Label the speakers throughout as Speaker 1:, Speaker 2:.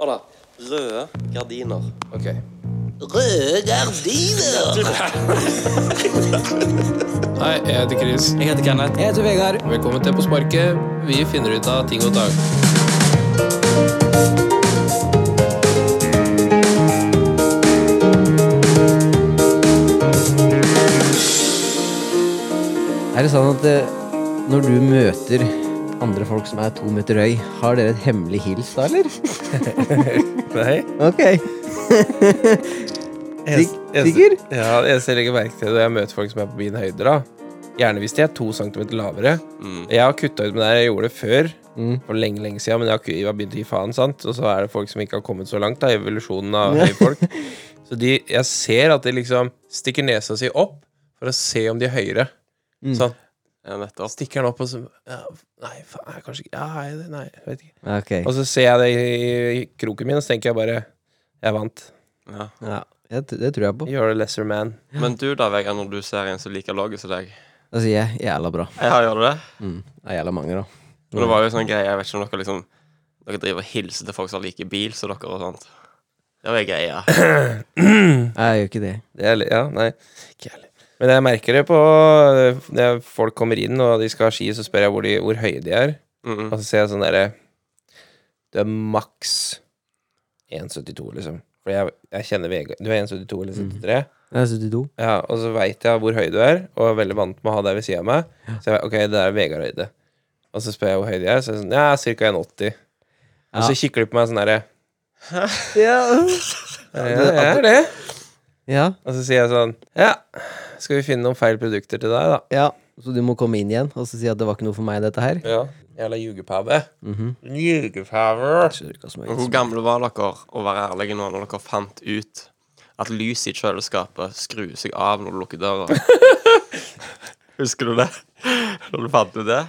Speaker 1: Hør da. Røde gardiner.
Speaker 2: Ok.
Speaker 1: Røde gardiner!
Speaker 2: Hei, jeg heter Chris.
Speaker 1: Jeg heter Kenneth. Jeg heter Vegard.
Speaker 2: Velkommen til På sparket. Vi finner ut av ting og tang.
Speaker 3: Er det sånn at eh, når du møter andre folk som er to meter høy, har dere et hemmelig hils da, eller?
Speaker 4: Nei.
Speaker 3: Ok.
Speaker 4: Jeg,
Speaker 3: Sik- sikker?
Speaker 4: ja, jeg ser ikke merke til det når jeg møter folk som er på min høyde. da Gjerne hvis de er to centimeter lavere.
Speaker 2: Mm.
Speaker 4: Jeg har kutta ut med det her, jeg gjorde det før,
Speaker 1: Mm.
Speaker 4: for lenge lenge siden, men jeg har, ku- jeg har begynt å gi faen. sant Og så er det folk som ikke har kommet så langt, da evolusjonen av høye folk. Så de, jeg ser at de liksom stikker nesa si opp for å se om de er høyere.
Speaker 3: Mm.
Speaker 1: Mm.
Speaker 4: Sånn.
Speaker 1: Ja, nettopp.
Speaker 4: Stikker den opp, og så ja, Nei, faen, er jeg kanskje ikke Ja, nei, nei, jeg vet ikke.
Speaker 3: Ok.
Speaker 4: Og så ser jeg det i, i kroken min, og så tenker jeg bare Jeg vant.
Speaker 1: Ja.
Speaker 3: Ja, jeg t- det tror jeg på.
Speaker 4: You're a lesser man.
Speaker 1: Men du da, Vegard, når du ser en som liker laget som deg?
Speaker 3: Da sier Altså, jeg jævla bra.
Speaker 1: Ja, gjør du det?
Speaker 3: Mm. Det er jævla mange, da.
Speaker 1: Men det var jo sånn greie, jeg vet ikke om dere liksom Dere driver og hilser til folk som liker bil som dere og sånt. Det var greia.
Speaker 3: Nei, Jeg gjør ikke det.
Speaker 4: Det er, li- ja, nei, ikke heller. Men jeg merker det på Når folk kommer inn og de skal ha ski, så spør jeg hvor, de, hvor høye de er.
Speaker 1: Mm
Speaker 4: Og så ser jeg sånn derre Du er maks 1,72, liksom. For jeg, jeg kjenner Vegard. Du er 1,72 eller 73.
Speaker 3: Jeg er 72.
Speaker 4: Ja, og så veit jeg hvor høy du er, og er veldig vant med å ha deg ved sida av meg. Så jeg vet, ok, det er Vegard-høyde. Og så spør jeg hvor høy de er, så er jeg sånn Ja, ca. 1,80. Og
Speaker 3: Ja.
Speaker 4: så kikker de på meg sånn derre
Speaker 3: Ja.
Speaker 4: Ja, jeg er det.
Speaker 3: ja.
Speaker 4: Og så sier jeg sånn Ja, skal vi finne noen feil produkter til deg, da?
Speaker 3: Ja. Så du må komme inn igjen og så si at det var ikke noe for meg, dette her?
Speaker 4: Ja. Jævla jugepave.
Speaker 3: Jeg skjønner ikke hva som er
Speaker 1: Og hvor
Speaker 3: vitsen.
Speaker 1: gamle var dere, å være ærlige nå, når dere fant ut at lyset i kjøleskapet skrur seg av når du lukker døra? Husker du det? Når du fant ut det?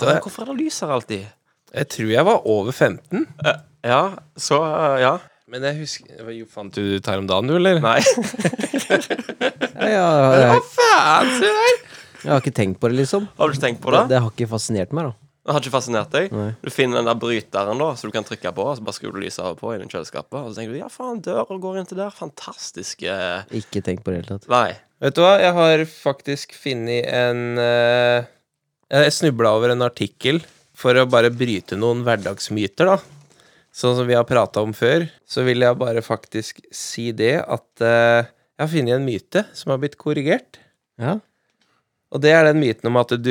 Speaker 1: Men hvorfor er det lys her alltid?
Speaker 4: Jeg tror jeg var over 15.
Speaker 1: Ja, så eh, Ja.
Speaker 4: Men jeg husker Hva jo, Fant du ut her om dagen, du, eller?
Speaker 1: Nei.
Speaker 3: Ja, ja, ja, jeg,
Speaker 4: Faen, se der!
Speaker 3: jeg har ikke tenkt på det, liksom.
Speaker 1: Har du ikke tenkt på
Speaker 3: Det,
Speaker 1: det?
Speaker 3: det har ikke fascinert meg, da.
Speaker 1: Det har ikke fascinert deg?
Speaker 3: Nei.
Speaker 1: Du finner den der bryteren da som du kan trykke på, og så bare skrur du lyset av og på i den kjøleskapet. Og så tenker du ja, faen, døra går inn til der. Fantastisk. eh,
Speaker 3: Ikke tenkt på det i det hele tatt.
Speaker 1: Nei.
Speaker 4: Vet du hva, jeg har faktisk funnet en eh, Jeg snubla over en artikkel for å bare bryte noen hverdagsmyter, da. Sånn som vi har prata om før, så vil jeg bare faktisk si det at eh, jeg har funnet en myte som har blitt korrigert.
Speaker 3: Ja.
Speaker 4: Og det er den myten om at du,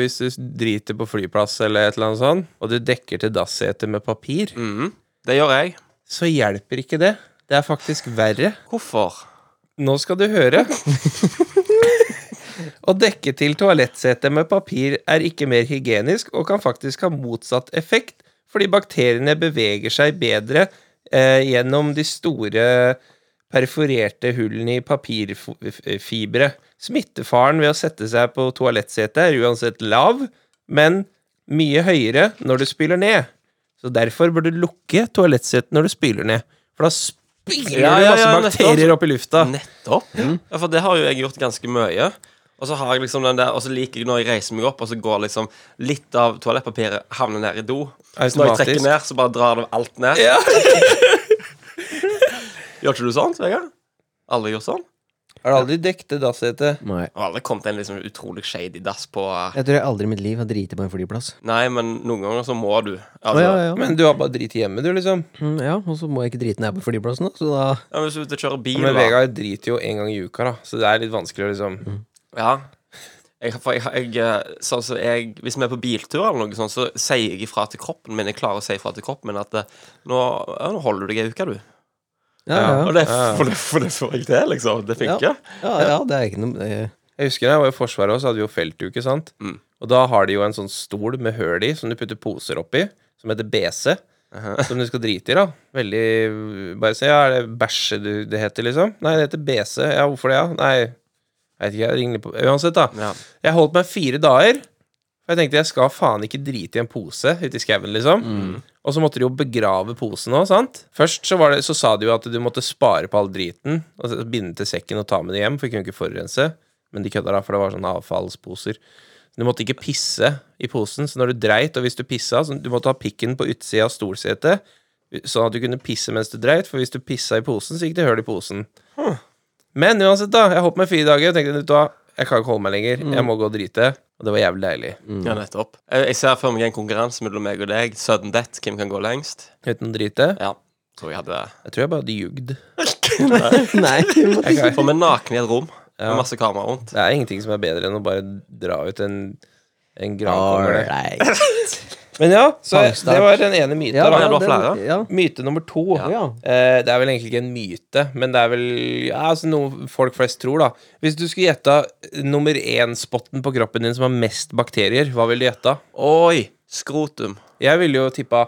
Speaker 4: hvis du driter på flyplass eller et eller annet sånt, og du dekker til dassetet med papir,
Speaker 1: Mhm. Det gjør jeg.
Speaker 4: så hjelper ikke det. Det er faktisk verre.
Speaker 1: Hvorfor?
Speaker 4: Nå skal du høre. Å dekke til toalettsetet med papir er ikke mer hygienisk og kan faktisk ha motsatt effekt, fordi bakteriene beveger seg bedre eh, gjennom de store perforerte hullene i papirfibre. Smittefaren ved å sette seg på toalettsetet er uansett lav, men mye høyere når du spyler ned. Så derfor bør du lukke toalettsetet når du spyler ned, for da spyler
Speaker 1: Ja,
Speaker 4: det
Speaker 1: ja,
Speaker 4: masse
Speaker 1: ja, nettopp.
Speaker 4: bakterier opp i lufta.
Speaker 1: Nettopp. Ja, for det har jo jeg gjort ganske mye. Og så har jeg liksom den der, og så liker jeg når jeg reiser meg opp, og så går liksom litt av toalettpapiret havner ned i do. Så når jeg
Speaker 4: Automatisk.
Speaker 1: trekker ned, så bare drar det alt ned.
Speaker 4: Ja.
Speaker 1: Gjør ikke du sånt, Vegard? Alle gjør sånn?
Speaker 4: Har du aldri dekket dassete?
Speaker 3: Nei.
Speaker 1: Og alle kom til en liksom utrolig shady dass på eh,
Speaker 3: Jeg tror jeg aldri i mitt liv har driti på en flyplass.
Speaker 1: Nei, men noen ganger så må du.
Speaker 3: Å,
Speaker 1: Altså,
Speaker 3: ja, ja.
Speaker 4: Men du har bare drit hjemme, du, liksom.
Speaker 3: Mm, ja, og så må jeg ikke drite når jeg er på flyplassen, da. Så da
Speaker 1: Ja, men hvis du er ute og kjører bil,
Speaker 4: Men
Speaker 1: da.
Speaker 4: Vegard driter jo en gang i uka, da, så det er litt vanskelig å liksom
Speaker 1: Mm. Ja. Jeg, for jeg, jeg, eh, sånn som jeg, hvis vi er på biltur, eller noe sånt, så sier jeg ifra til kroppen min. Jeg klarer å si ifra til kroppen min at eh, nå, ja, nå holder du deg ei uke, du.
Speaker 3: Ja, ja.
Speaker 1: Og
Speaker 3: ja.
Speaker 1: det,
Speaker 4: Ja.
Speaker 1: for, det, for det får jeg til, liksom. Det funker.
Speaker 3: ja, ja det er ikke noe eh, det,
Speaker 4: Jeg husker da jeg var i Forsvaret også, så hadde vi jo feltuke, sant.
Speaker 1: Mm.
Speaker 4: Og da har de jo en sånn stol med høl i, som du putter poser oppi, som heter BC. Som du skal drite i, da. Veldig Bare si ja, er det bæsje du det heter, liksom? Nei, det heter BC. Ja, hvorfor det, ja? Nei, jeg vet ikke, jeg ringer litt på Uansett, da.
Speaker 1: Ja.
Speaker 4: Jeg holdt meg fire dager. For jeg tenkte jeg skal faen ikke drite i en pose ute i skauen, liksom. Og så måtte de jo begrave posen òg, sant. Først så, var det, så sa de jo at du måtte spare på all driten, og så binde til sekken og ta med det hjem, for de kunne ikke forurense. Men de kødda da, for det var sånne avfallsposer. Du måtte ikke pisse i posen, så når du dreit, og hvis du pissa, så du måtte ha pikken på utsida av stolsetet, sånn at du kunne pisse mens du dreit, for hvis du pissa i posen, så gikk det hull i posen. Men uansett, da. Jeg holdt meg fire dager og tenkte vet du hva, jeg kan ikke holde meg lenger. Jeg må gå og drite. Og det var jævlig deilig.
Speaker 1: Ja, nettopp. Eh, Jeg, jeg ser for meg en konkurranse mellom meg og deg. Sudden death, hvem kan gå lengst?
Speaker 4: Uten å drite.
Speaker 1: Ja. Tror jeg hadde
Speaker 4: Jeg tror jeg bare hadde jugd.
Speaker 3: Nei, du må-
Speaker 4: Jeg kan-
Speaker 1: For vi er nakne i et rom
Speaker 4: Ja.
Speaker 1: med masse kamera rundt.
Speaker 4: Det er ingenting som er bedre enn å bare dra ut en, en
Speaker 3: Ah,
Speaker 4: grankongle.
Speaker 3: Alright.
Speaker 4: Men ja, så jeg,
Speaker 3: Fangstart.
Speaker 4: det var den ene myten.
Speaker 3: Ja,
Speaker 1: det
Speaker 4: da.
Speaker 1: var
Speaker 3: den-
Speaker 1: flere.
Speaker 3: Ja.
Speaker 4: Myte nummer to.
Speaker 3: Å, ja.
Speaker 4: Eh, det er vel egentlig ikke en myte, men det er vel ja, altså, noe folk flest tror, da. Hvis du skulle gjetta nummer én-spotten på kroppen din som har mest bakterier, hva ville du gjetta?
Speaker 1: Oi! Skrotum.
Speaker 4: Jeg ville jo tippa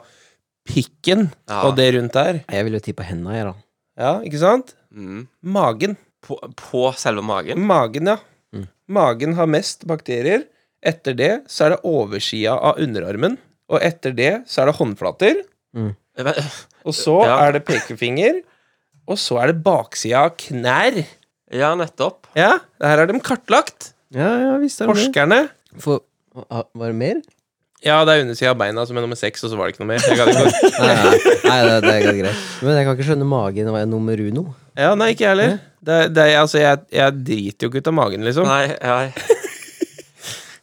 Speaker 4: pikken
Speaker 1: Ja.
Speaker 4: og det rundt der.
Speaker 3: Jeg vil jo tippe henda, jeg, da.
Speaker 4: Ja, ikke sant?
Speaker 1: Mm.
Speaker 4: Magen.
Speaker 1: På, på selve magen.
Speaker 4: Magen, ja.
Speaker 3: Mm.
Speaker 4: Magen har mest bakterier. Etter det så er det oversida av underarmen. Og etter det så er det håndflater.
Speaker 1: Eh, men-
Speaker 4: Og så
Speaker 1: Ja.
Speaker 4: er det pekefinger. Og så er det baksida av knær.
Speaker 1: Ja, nettopp.
Speaker 4: Ja, det her er de kartlagt.
Speaker 3: Ja, ja, visst er det det.
Speaker 4: Forskerne.
Speaker 3: For, ah, var det mer?
Speaker 4: Ja, det er undersida av beina som er nummer seks, og så var det ikke noe mer. Jeg gadd ikke å-
Speaker 3: Nei, nei, nei det, det går greit. Men jeg kan ikke skjønne magen var jeg nummer uno.
Speaker 4: ja, nei, ikke jeg heller. Det, det, altså, jeg, jeg driter jo ikke ut av magen, liksom.
Speaker 1: Nei, nei.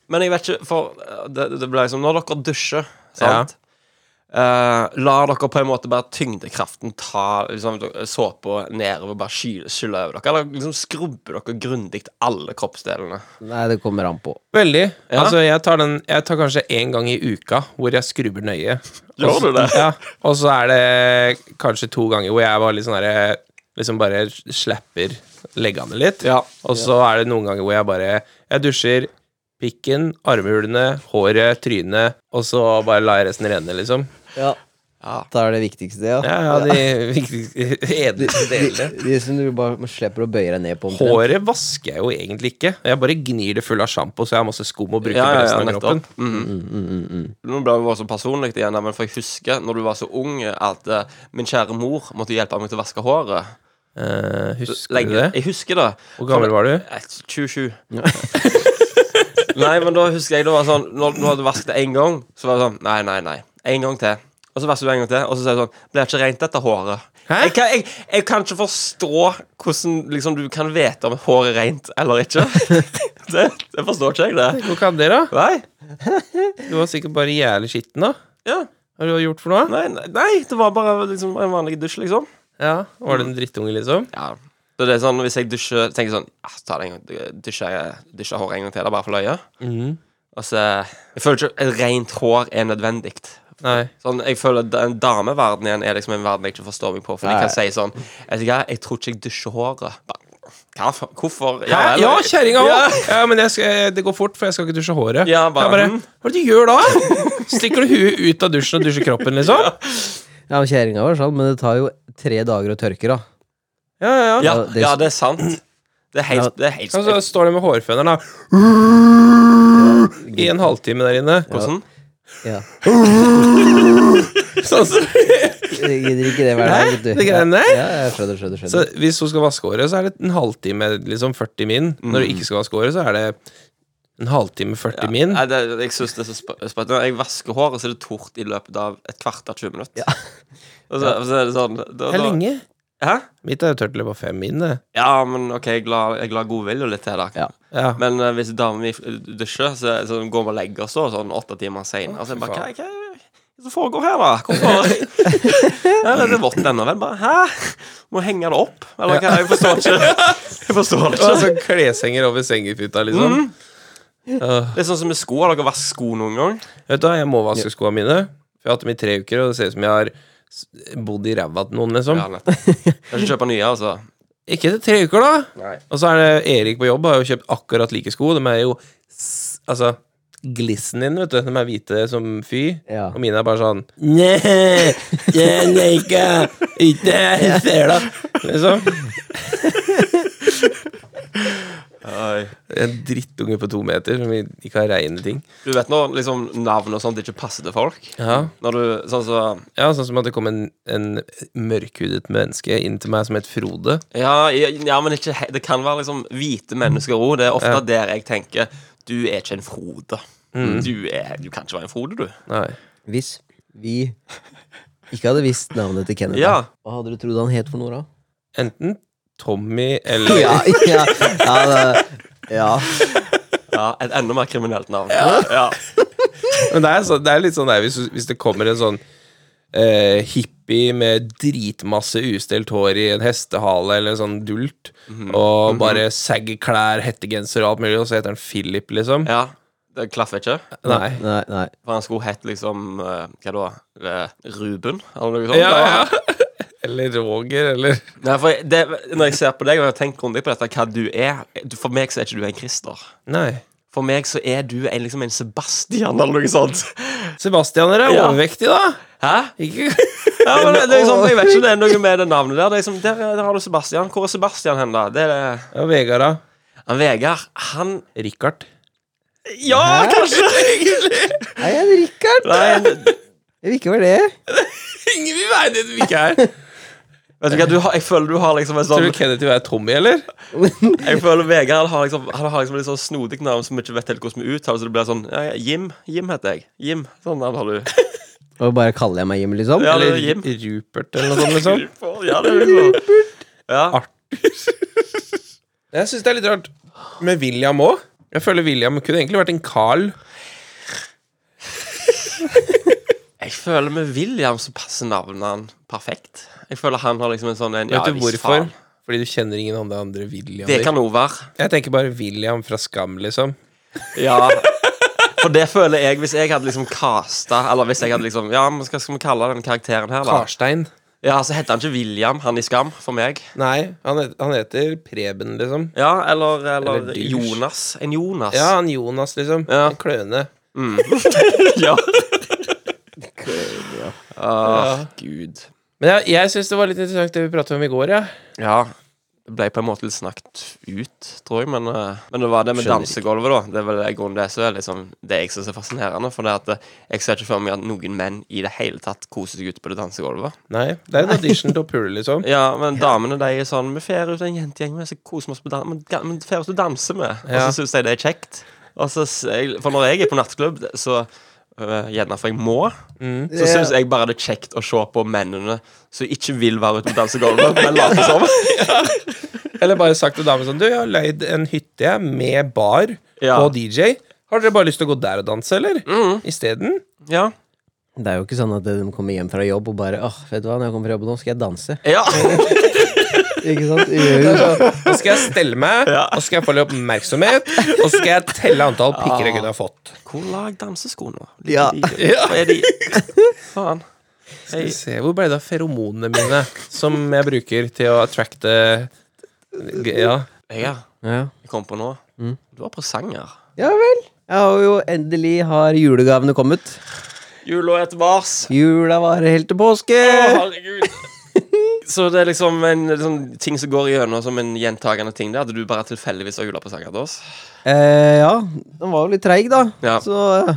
Speaker 1: Men jeg vet ikke, for eh, det, det ble liksom Når dere dusjer, sant Eh, lar dere på en måte bare tyngdekraften ta liksom, såpa nedover, bare skylle, skylle over dere? Eller liksom skrubber dere grundig alle kroppsdelene?
Speaker 3: Nei, det kommer an på.
Speaker 4: Veldig.
Speaker 1: Ja.
Speaker 4: Altså, jeg tar, den, jeg tar kanskje én gang i uka hvor jeg skrubber nøye.
Speaker 1: Gjør
Speaker 4: Og
Speaker 1: du
Speaker 4: så-
Speaker 1: det?
Speaker 4: Ja, og så er det kanskje to ganger hvor jeg bare litt sånn derre Liksom bare slapper leggene litt.
Speaker 1: Ja.
Speaker 4: Og så er det noen ganger hvor jeg bare Jeg dusjer pikken, armhulene, håret, trynet, og så bare lar jeg resten renne, liksom.
Speaker 3: Ja.
Speaker 1: Ja.
Speaker 3: Da er det viktigste, ja.
Speaker 4: Ja, ja, de viktigste
Speaker 3: De,
Speaker 4: edleste
Speaker 3: de,
Speaker 4: delene.
Speaker 3: de som du bare slipper å bøye deg ned på. omtrent.
Speaker 4: Håret vasker jeg jo egentlig ikke. Jeg bare gnir det full av sjampo, så jeg har masse skum å bruke
Speaker 1: Ja,
Speaker 4: på
Speaker 1: ja,
Speaker 4: resten
Speaker 1: ja,
Speaker 4: av kroppen. Mm.
Speaker 1: nettopp. Mhm.
Speaker 3: Mm,
Speaker 1: Nå ble vi bare så personlig igjen, men for jeg husker når du var så ung, at eh, min kjære mor måtte hjelpe meg til å vaske håret.
Speaker 4: Eh, husker du
Speaker 1: Lenge.
Speaker 4: det?
Speaker 1: Jeg husker det.
Speaker 4: Hvor gammel var du?
Speaker 1: Eh, 27. nei, men da husker jeg det var sånn Når, når du vasket én gang, så var det sånn Nei, nei, nei. En gang til. Og så vasket du en gang til, og så sier du sånn Blir ikke rent dette håret.
Speaker 4: Hæ?
Speaker 1: Jeg kan, jeg, jeg kan ikke forstå hvordan liksom, du kan vite om håret er rent eller ikke. det, det forstår ikke jeg, det.
Speaker 4: Hvor kan det, da?
Speaker 1: Nei.
Speaker 4: Du var sikkert bare jævlig skitten, da.
Speaker 1: Ja.
Speaker 4: Hva har du gjort for noe?
Speaker 1: Nei, nei, nei, det var bare liksom, en vanlig dusj, liksom.
Speaker 4: Ja, Var du en drittunge, liksom?
Speaker 1: Ja. Så det er sånn, Hvis jeg dusjer, så tenker jeg sånn ah, ta det en gang, Dusjer jeg- dusjer håret en gang til, da, bare for løye. Mm. Og så, Altså, Jeg føler ikke at rent hår er nødvendig.
Speaker 4: Nei.
Speaker 1: Sånn, jeg føler Den dameverdenen igjen er liksom en verden jeg ikke forstår meg på. For de
Speaker 3: Nei.
Speaker 1: kan si sånn Vet du hva, jeg tror ikke jeg dusjer håret. Bare, Hva for? Hvorfor?
Speaker 4: Ja,
Speaker 1: vel.
Speaker 4: ja kjerringa
Speaker 1: Ja.
Speaker 4: òg! Ja, men jeg skal, det går fort, for jeg skal ikke dusje håret.
Speaker 1: Ja, bare,
Speaker 4: jeg bare
Speaker 1: mm.
Speaker 4: Hva er det du gjør da? Stikker du huet ut av dusjen og dusjer kroppen, liksom?
Speaker 3: Ja, men Kjerringa var sånn, men det tar jo tre dager å tørke, da.
Speaker 4: Ja, ja, ja.
Speaker 1: Ja,
Speaker 3: Ja, det-
Speaker 1: ja, det er sant. Det er helt, det er helt
Speaker 4: Og så står de med hårføneren, da. I en halvtime der inne.
Speaker 1: Hvordan?
Speaker 3: Ja.
Speaker 4: Sånn som-
Speaker 3: Jeg gidder ikke det
Speaker 4: Nei,
Speaker 3: hver dag, vet du.
Speaker 4: det greiene der?
Speaker 3: Ja, jeg skjønner, skjønner,
Speaker 4: Så
Speaker 3: skjønner.
Speaker 4: hvis hun skal vaske håret, så er det en halvtime, liksom 40 min. Når
Speaker 1: Mm.
Speaker 4: du ikke skal vaske håret, så er det en halvtime, 40 min.
Speaker 1: Nei, det, jeg synes det er så sp- sprøtt. Når jeg vasker håret, så er det tort i løpet av et kvarter 20 minutter. Og, så, og så er det sånn da,
Speaker 4: Det er
Speaker 1: da-
Speaker 4: lenge.
Speaker 1: Hæ?
Speaker 4: Mitt er jo tørt til å løpe på fem min, det.
Speaker 1: Ja, men ok, jeg la, jeg la godvilje litt til da.
Speaker 3: Ja.
Speaker 4: Ja.
Speaker 1: Men eh, hvis damen min eh, dusjer, så, så går vi og legger oss da, sånn åtte timer senere. Så jeg bare, hva, hva hva er det som foregår her, da? Hvorfor? ja, det er vått ennå, vel? Bare, hæ? Må henge det opp? Eller hva? Jeg forstår ikke. Jeg forstår
Speaker 4: Det var
Speaker 1: ikke.
Speaker 4: sånn kleshenger over sengeputa, liksom.
Speaker 1: Det er sånn som med sko. Har dere vasket sko noen gang?
Speaker 4: Vet du hva, jeg må vaske skoene mine. For jeg har hatt dem i tre uker, og det ser ut som jeg har s- bodd i ræva til noen, liksom.
Speaker 1: Ja, nettopp. Jeg skal kjøpe nye, altså.
Speaker 4: Ikke etter tre uker, da! Og så er det Erik på jobb har jo kjøpt akkurat like sko. De er jo s- Altså Glissen din, vet du. De er hvite som fy.
Speaker 3: Ja.
Speaker 4: Og mine er bare sånn Nei, jeg liker ikke sela. Liksom. En drittunge på to meter som ikke har reine ting.
Speaker 1: Du vet når liksom, navn og sånt ikke passer til folk?
Speaker 4: Ja.
Speaker 1: Når du, sånn så,
Speaker 4: Ja, sånn som at det kom en, en mørkhudet menneske inn til meg som het Frode.
Speaker 1: ja, ja, men ikke, he- det kan være liksom hvite mennesker òg. Det er ofte der jeg tenker Du er ikke en
Speaker 4: Mm.
Speaker 1: Frode. Du, er, du kan ikke være en Frode, du.
Speaker 4: Nei.
Speaker 3: Hvis vi ikke hadde visst navnet til Kenneth.
Speaker 1: Ja.
Speaker 3: da. Hva hadde du trodd han het for noe, da?
Speaker 4: Enten Tommy eller
Speaker 3: Ja, ja, ja, det- ja.
Speaker 1: ja. Et enda mer kriminelt navn. Ja.
Speaker 4: Men det er, så, det er litt sånn der, hvis, hvis det kommer en sånn eh, hippie med dritmasse ustelt hår i en hestehale eller en sånn dult, og bare saggy klær, hettegenser og alt mulig, og så heter han Philip, liksom.
Speaker 1: ja. Det klaffer ikke.
Speaker 4: Nei.
Speaker 3: Nei, nei.
Speaker 1: For han skulle hett liksom eh, Hva da? Eh, Ruben? Eller noe sånt?
Speaker 4: Ja, ja. Eller Roger, eller
Speaker 1: Nei, for jeg- det, Når jeg ser på deg og jeg har tenkt grundig på dette, hva du er du- For meg så er ikke du en Christer.
Speaker 4: Nei.
Speaker 1: For meg så er du en, liksom en Sebastian eller noe sånt.
Speaker 4: Sebastian dere er
Speaker 1: Ja.
Speaker 4: overvektig, da.
Speaker 1: Hæ?
Speaker 4: Ikke
Speaker 1: Ja, men det, det er liksom, jeg vet ikke, det er noe med det navnet der. Det er liksom, der, der har du Sebastian. Hvor er Sebastian hen, da? Det er det.
Speaker 4: ja, Vegard, da.
Speaker 1: Han Vegard, han
Speaker 4: Richard.
Speaker 1: Ja, kanskje!
Speaker 3: Nei, jeg er Richard!
Speaker 1: Nei, vet
Speaker 3: Jeg vil ikke være det.
Speaker 4: Ingen vil være det du ikke er.
Speaker 1: du hva, du har, jeg føler du har liksom en
Speaker 4: Tror du
Speaker 1: sånn
Speaker 4: Kenneth vil være Tommy, eller?
Speaker 1: Jeg føler Vegard han har liksom Han har liksom et litt sånn snodig navn som vi ikke vet helt hvordan vi uttaler, så det blir sånn ja, ja, Jim. Jim heter jeg. Jim. Sånn navn har du.
Speaker 3: Og bare kaller jeg meg Jim, liksom?
Speaker 1: Ja, det
Speaker 4: eller
Speaker 1: er Jim.
Speaker 4: Rupert, eller noe sånt, liksom.
Speaker 1: Ja, det er liksom. Ja.
Speaker 4: Jeg syns det er litt rart med William òg. Jeg føler William kunne egentlig vært en Carl.
Speaker 1: Jeg føler med William så passer navnet han perfekt. Jeg føler han har liksom en sånn en, ja,
Speaker 4: Vet du
Speaker 1: visst
Speaker 4: hvorfor?
Speaker 1: faen.
Speaker 4: Fordi du kjenner ingen andre andre William.
Speaker 1: Det kan òg være.
Speaker 4: Jeg tenker bare William fra Skam, liksom.
Speaker 1: Ja. For det føler jeg, hvis jeg hadde liksom casta Eller hvis jeg hadde liksom Ja, men hva skal vi kalle den karakteren her, da?
Speaker 4: Karstein.
Speaker 1: Ja, så heter han ikke William, han i Skam, for meg.
Speaker 4: Nei, han, het- han heter Preben, liksom.
Speaker 1: Ja, eller, eller,
Speaker 4: Eller douche.
Speaker 1: Jonas. En Jonas.
Speaker 4: Ja, han Jonas, liksom.
Speaker 1: Ja.
Speaker 4: En kløne.
Speaker 1: ja. Åh, Ah, gud.
Speaker 4: Men jeg, jeg syns det var litt interessant det vi pratet om i går, ja.
Speaker 1: Ja. Det ble på en måte litt snakket ut, tror jeg, men, eh, men det var det med
Speaker 3: Skjønner
Speaker 1: dansegulvet, da. Det er vel i grunnen det som er liksom, det jeg syns er fascinerende. For det at eh, jeg ser ikke for meg at noen menn i det hele tatt koser seg ute på det dansegulvet.
Speaker 4: Nei, det er en audition til å pule, liksom.
Speaker 1: Ja, men damene de er sånn Vi fer ut en jentegjeng, vi så koser vi oss på dan men, ga- men fer ut og danser med. Og så
Speaker 4: Ja.
Speaker 1: syns de det er kjekt. Og så, s- jeg- for når jeg er på nattklubb, så øh, gjerne for jeg må, så
Speaker 3: Ja.
Speaker 1: syns jeg bare det er kjekt å se på mennene som ikke vil være ute på dansegulvet, men later som.
Speaker 4: Eller bare sagt til damen sånn Du, jeg har leid en hytte jeg, med bar
Speaker 1: Ja. Mm.
Speaker 4: og DJ. Har dere bare lyst til å gå der og danse, eller? Isteden?
Speaker 1: Ja.
Speaker 3: Det er jo ikke sånn at de kommer hjem fra jobb og bare åh, vet du hva, når jeg kommer fra jobb nå, skal jeg danse.
Speaker 1: ja.
Speaker 3: Ikke sant? Vi gjør jo sånn.
Speaker 4: Nå skal jeg stelle meg,
Speaker 1: Ja.
Speaker 4: og skal jeg få litt oppmerksomhet, og skal jeg telle antall pikker
Speaker 1: Ah.
Speaker 4: jeg kunne ha fått.
Speaker 1: Hvor lag dansesko nå?
Speaker 3: Ja.
Speaker 1: ja. Hva er de? Faen.
Speaker 4: Skal vi se, Hvor ble det av feromonene mine, som jeg bruker til å attracte Ja.
Speaker 1: Vegard,
Speaker 3: Ja.
Speaker 1: jeg kom på nå. Du har presanger.
Speaker 3: ja vel. Jeg har jo endelig har julegavene kommet.
Speaker 1: Jula etter mars.
Speaker 3: Jula varer helt til påske.
Speaker 1: herregud. Så det er liksom en liksom, ting som går igjennom som en gjentagende ting. Det hadde du bare tilfeldigvis har julepresanger til oss.
Speaker 3: Eh, ja, den var jo litt treig, da.
Speaker 1: Ja.
Speaker 3: Så eh,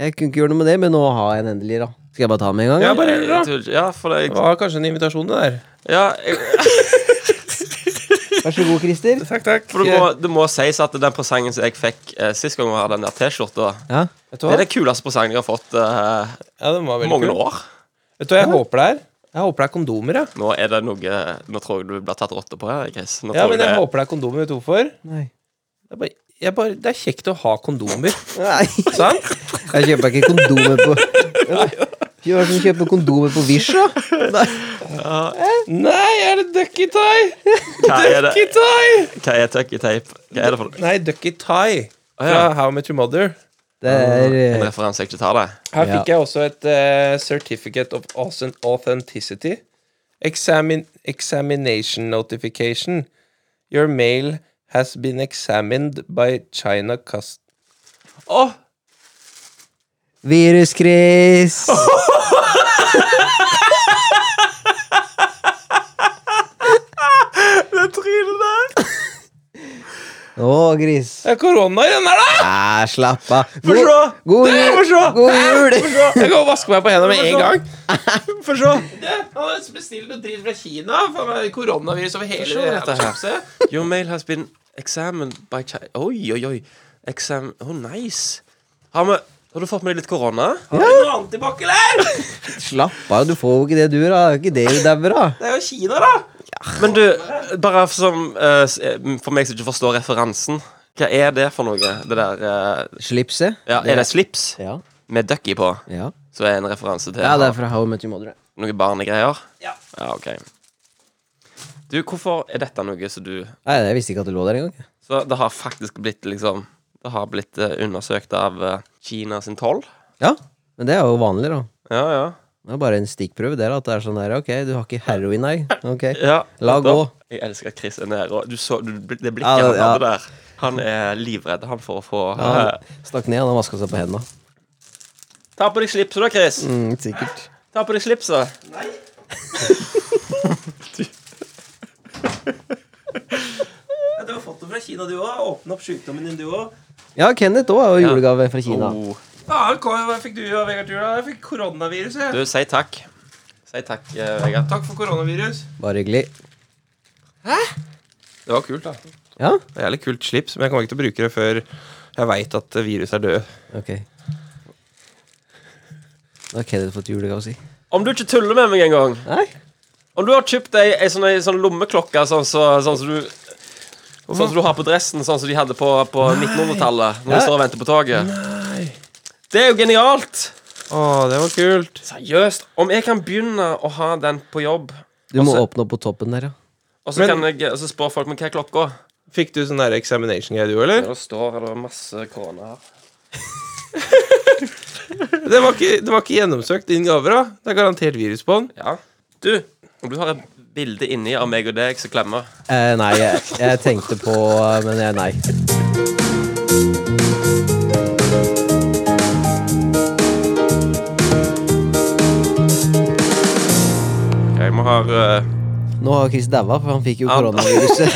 Speaker 3: jeg kunne ikke gjøre noe med det, men nå har jeg den endelig, da. Skal jeg bare ta den med en gang?
Speaker 4: Ja,
Speaker 3: eller?
Speaker 4: bare
Speaker 1: Jeg,
Speaker 4: gjør det.
Speaker 1: tror ikke- ja, for det
Speaker 4: Det var kanskje en invitasjon, det der.
Speaker 1: Ja, jeg,
Speaker 3: Vær så god, Christer.
Speaker 4: Takk, takk.
Speaker 1: for det må, det må sies at den presangen som jeg fikk eh, sist gang vi hadde den der T-skjorta,
Speaker 3: Ja.
Speaker 4: Vet du
Speaker 1: det er
Speaker 4: hva?
Speaker 1: den kuleste presangen jeg har fått eh,
Speaker 4: Ja, den var
Speaker 1: på
Speaker 4: veldig
Speaker 1: mange
Speaker 4: kul.
Speaker 1: år.
Speaker 4: Vet du hva jeg håper det er? Jeg håper det er kondomer, jeg.
Speaker 1: Nå er det noe Nå tror jeg du blir tatt rotte på her, Chris. Nå
Speaker 4: Ja,
Speaker 1: tror
Speaker 4: men
Speaker 1: jeg
Speaker 4: jeg
Speaker 1: det.
Speaker 4: håper det er kondomer. Vet du hvorfor?
Speaker 3: Nei.
Speaker 4: Det er, bare, jeg bare, det er kjekt å ha kondomer.
Speaker 3: Nei.
Speaker 4: Sant?
Speaker 3: Jeg kjøper ikke kondomer på Hvem er det som kjøper kondomer på Wish, da? Nei.
Speaker 4: Nei, er det Ducky Tie?
Speaker 1: Hva er det?
Speaker 4: Ducky Tie!
Speaker 1: Hva er tucky tape? Hva er det for
Speaker 4: Nei, Ducky Tie
Speaker 1: Å, ja.
Speaker 4: fra How I Met Your Mother.
Speaker 3: Det er
Speaker 1: en
Speaker 3: eh,
Speaker 1: referanse jeg ikke tar, det?
Speaker 4: Her
Speaker 3: Ja.
Speaker 4: fikk jeg også et eh, Certificate of Authent- Authenticity. Examin examination notification. Your mail has been examined by China Cust... Å!
Speaker 3: Virus-Chris.
Speaker 1: Det trynet der!
Speaker 3: Å, Gris.
Speaker 4: det er korona i den der, da!
Speaker 3: Æ, slapp av.
Speaker 1: Få se!
Speaker 3: god
Speaker 1: Det
Speaker 3: jul.
Speaker 1: får se!
Speaker 3: God jul.
Speaker 4: Jeg går og vasker meg på hendene med en gang.
Speaker 1: Få se!
Speaker 4: Han har bestilt noe dritt fra Kina. Koronavirus over
Speaker 1: Hva skjer dette her? Your mail has been examined by China Oi, oi, oi. Exam Oh, nice. Har vi Har du fått med deg litt korona?
Speaker 4: Har du noe annet i bakkelær?
Speaker 3: Slapp av, du får jo ikke det du, da. Det er Ikke det du dauer av.
Speaker 4: Det er jo Kina, da.
Speaker 1: Men du, bare for som eh, s- eh, For meg som ikke forstår referansen. Hva er det for noe? Det der eh,
Speaker 3: Slipset.
Speaker 1: ja, Er det slips
Speaker 3: Ja.
Speaker 1: med ducky på?
Speaker 3: Ja.
Speaker 1: Så er en referanse til
Speaker 3: ja, det er fra How I Met Your Mother.
Speaker 1: noen barnegreier?
Speaker 4: Ja.
Speaker 1: Ja, ok Du, hvorfor er dette noe som du
Speaker 3: Nei, jeg visste ikke at det lå der engang.
Speaker 1: Så det har faktisk blitt liksom Det har blitt eh, undersøkt av eh, Kina sin toll.
Speaker 3: Ja, men det er jo vanlig, da.
Speaker 1: Ja, ja.
Speaker 3: Det er bare en stikkprøve der. At det er sånn der, ok, du har ikke heroin, nei. Ok.
Speaker 1: ja
Speaker 3: La
Speaker 1: nettopp.
Speaker 3: gå.
Speaker 1: Jeg elsker at Chris er nede. og Du så du, det blikket
Speaker 3: Ja,
Speaker 1: han
Speaker 3: det-
Speaker 1: hadde der. Han er livredd, han, for å få
Speaker 3: Ja,
Speaker 1: eh,
Speaker 3: Stakk ned, han har vaska seg på hendene.
Speaker 1: Ta på deg slipset, da, Chris.
Speaker 3: Mm, sikkert.
Speaker 1: Ta på deg slipset. Nei.
Speaker 4: Du har fått det fra Kina, du òg. Åpne opp sjukdommen din, du òg.
Speaker 3: Ja, Kenneth òg er jo julegave fra Kina.
Speaker 1: Oh.
Speaker 4: Faen, hva fikk du av Vegard Tula? Jeg fikk koronaviruset.
Speaker 1: Du, si takk. Si takk, eh, Vegard.
Speaker 4: Takk for koronavirus.
Speaker 3: Bare hyggelig.
Speaker 4: Det var kult, da.
Speaker 3: Ja?
Speaker 4: Det er Jævlig kult slips, men jeg kommer ikke til å bruke det før jeg veit at viruset er død.
Speaker 3: Ok. Nå har Kenneth fått julegave si.
Speaker 1: Om du ikke tuller med meg en gang
Speaker 3: Nei?
Speaker 1: Om du har kjøpt ei, ei, sånn, ei sånn lommeklokke sånn som sånn som du Sånn som du har på dressen, sånn som de hadde på, på 1900-tallet. Når
Speaker 3: Nei.
Speaker 1: de står og venter på toget. Det er jo genialt!
Speaker 4: Å, det var kult.
Speaker 1: Seriøst. Om jeg kan begynne å ha den på jobb,
Speaker 3: Du må
Speaker 1: Altså-
Speaker 3: åpne opp på toppen der, ja.
Speaker 1: og så
Speaker 4: Men-
Speaker 1: kan jeg og så spør folk men hva er klokka
Speaker 4: Fikk du sånn der examination-greie, du, eller?
Speaker 1: Det står det masse korona her.
Speaker 4: Det var, ikke, det var ikke gjennomsøkt, din gave, da. Det er garantert virus på den.
Speaker 1: Ja. Du, om du har et bilde inni av meg og deg som klemmer
Speaker 3: Eh, nei, jeg, jeg tenkte på eh, Men jeg, nei.
Speaker 4: Jeg må ha
Speaker 1: eh,
Speaker 4: øh,
Speaker 3: Nå har Chris daua, for han fikk jo koronaviruset.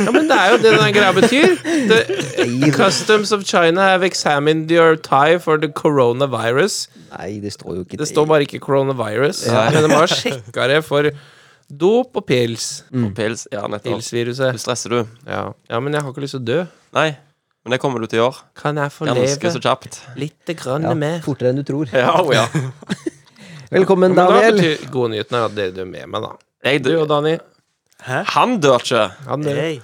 Speaker 4: Ja, men det er jo det den greia betyr. The
Speaker 3: Nei,
Speaker 4: customs of China have examined your tie for the coronavirus.
Speaker 3: Nei, det står jo ikke
Speaker 4: Det står bare ikke coronavirus,
Speaker 1: Ja.
Speaker 4: men de har sjekka det for dop og pils.
Speaker 1: på Mm. pils. Ja, nettopp. Du
Speaker 4: Pilsviruset.
Speaker 1: stresser, du.
Speaker 4: Ja. ja, men jeg har ikke lyst til å dø.
Speaker 1: Nei. Men det kommer du til i år.
Speaker 4: Kan jeg få
Speaker 1: Ganske
Speaker 4: leve
Speaker 1: så kjapt.
Speaker 4: litt grann
Speaker 3: ja,
Speaker 4: mer?
Speaker 3: Fortere enn du tror.
Speaker 1: Ja, oh, ja.
Speaker 3: Velkommen,
Speaker 4: Men da
Speaker 3: Daniel.
Speaker 4: betyr gode nyheten er at dere dør med meg, da.
Speaker 1: Jeg
Speaker 4: Du
Speaker 1: dør.
Speaker 4: og Dani.
Speaker 1: Han dør ikke.
Speaker 4: Han, dør.
Speaker 1: Han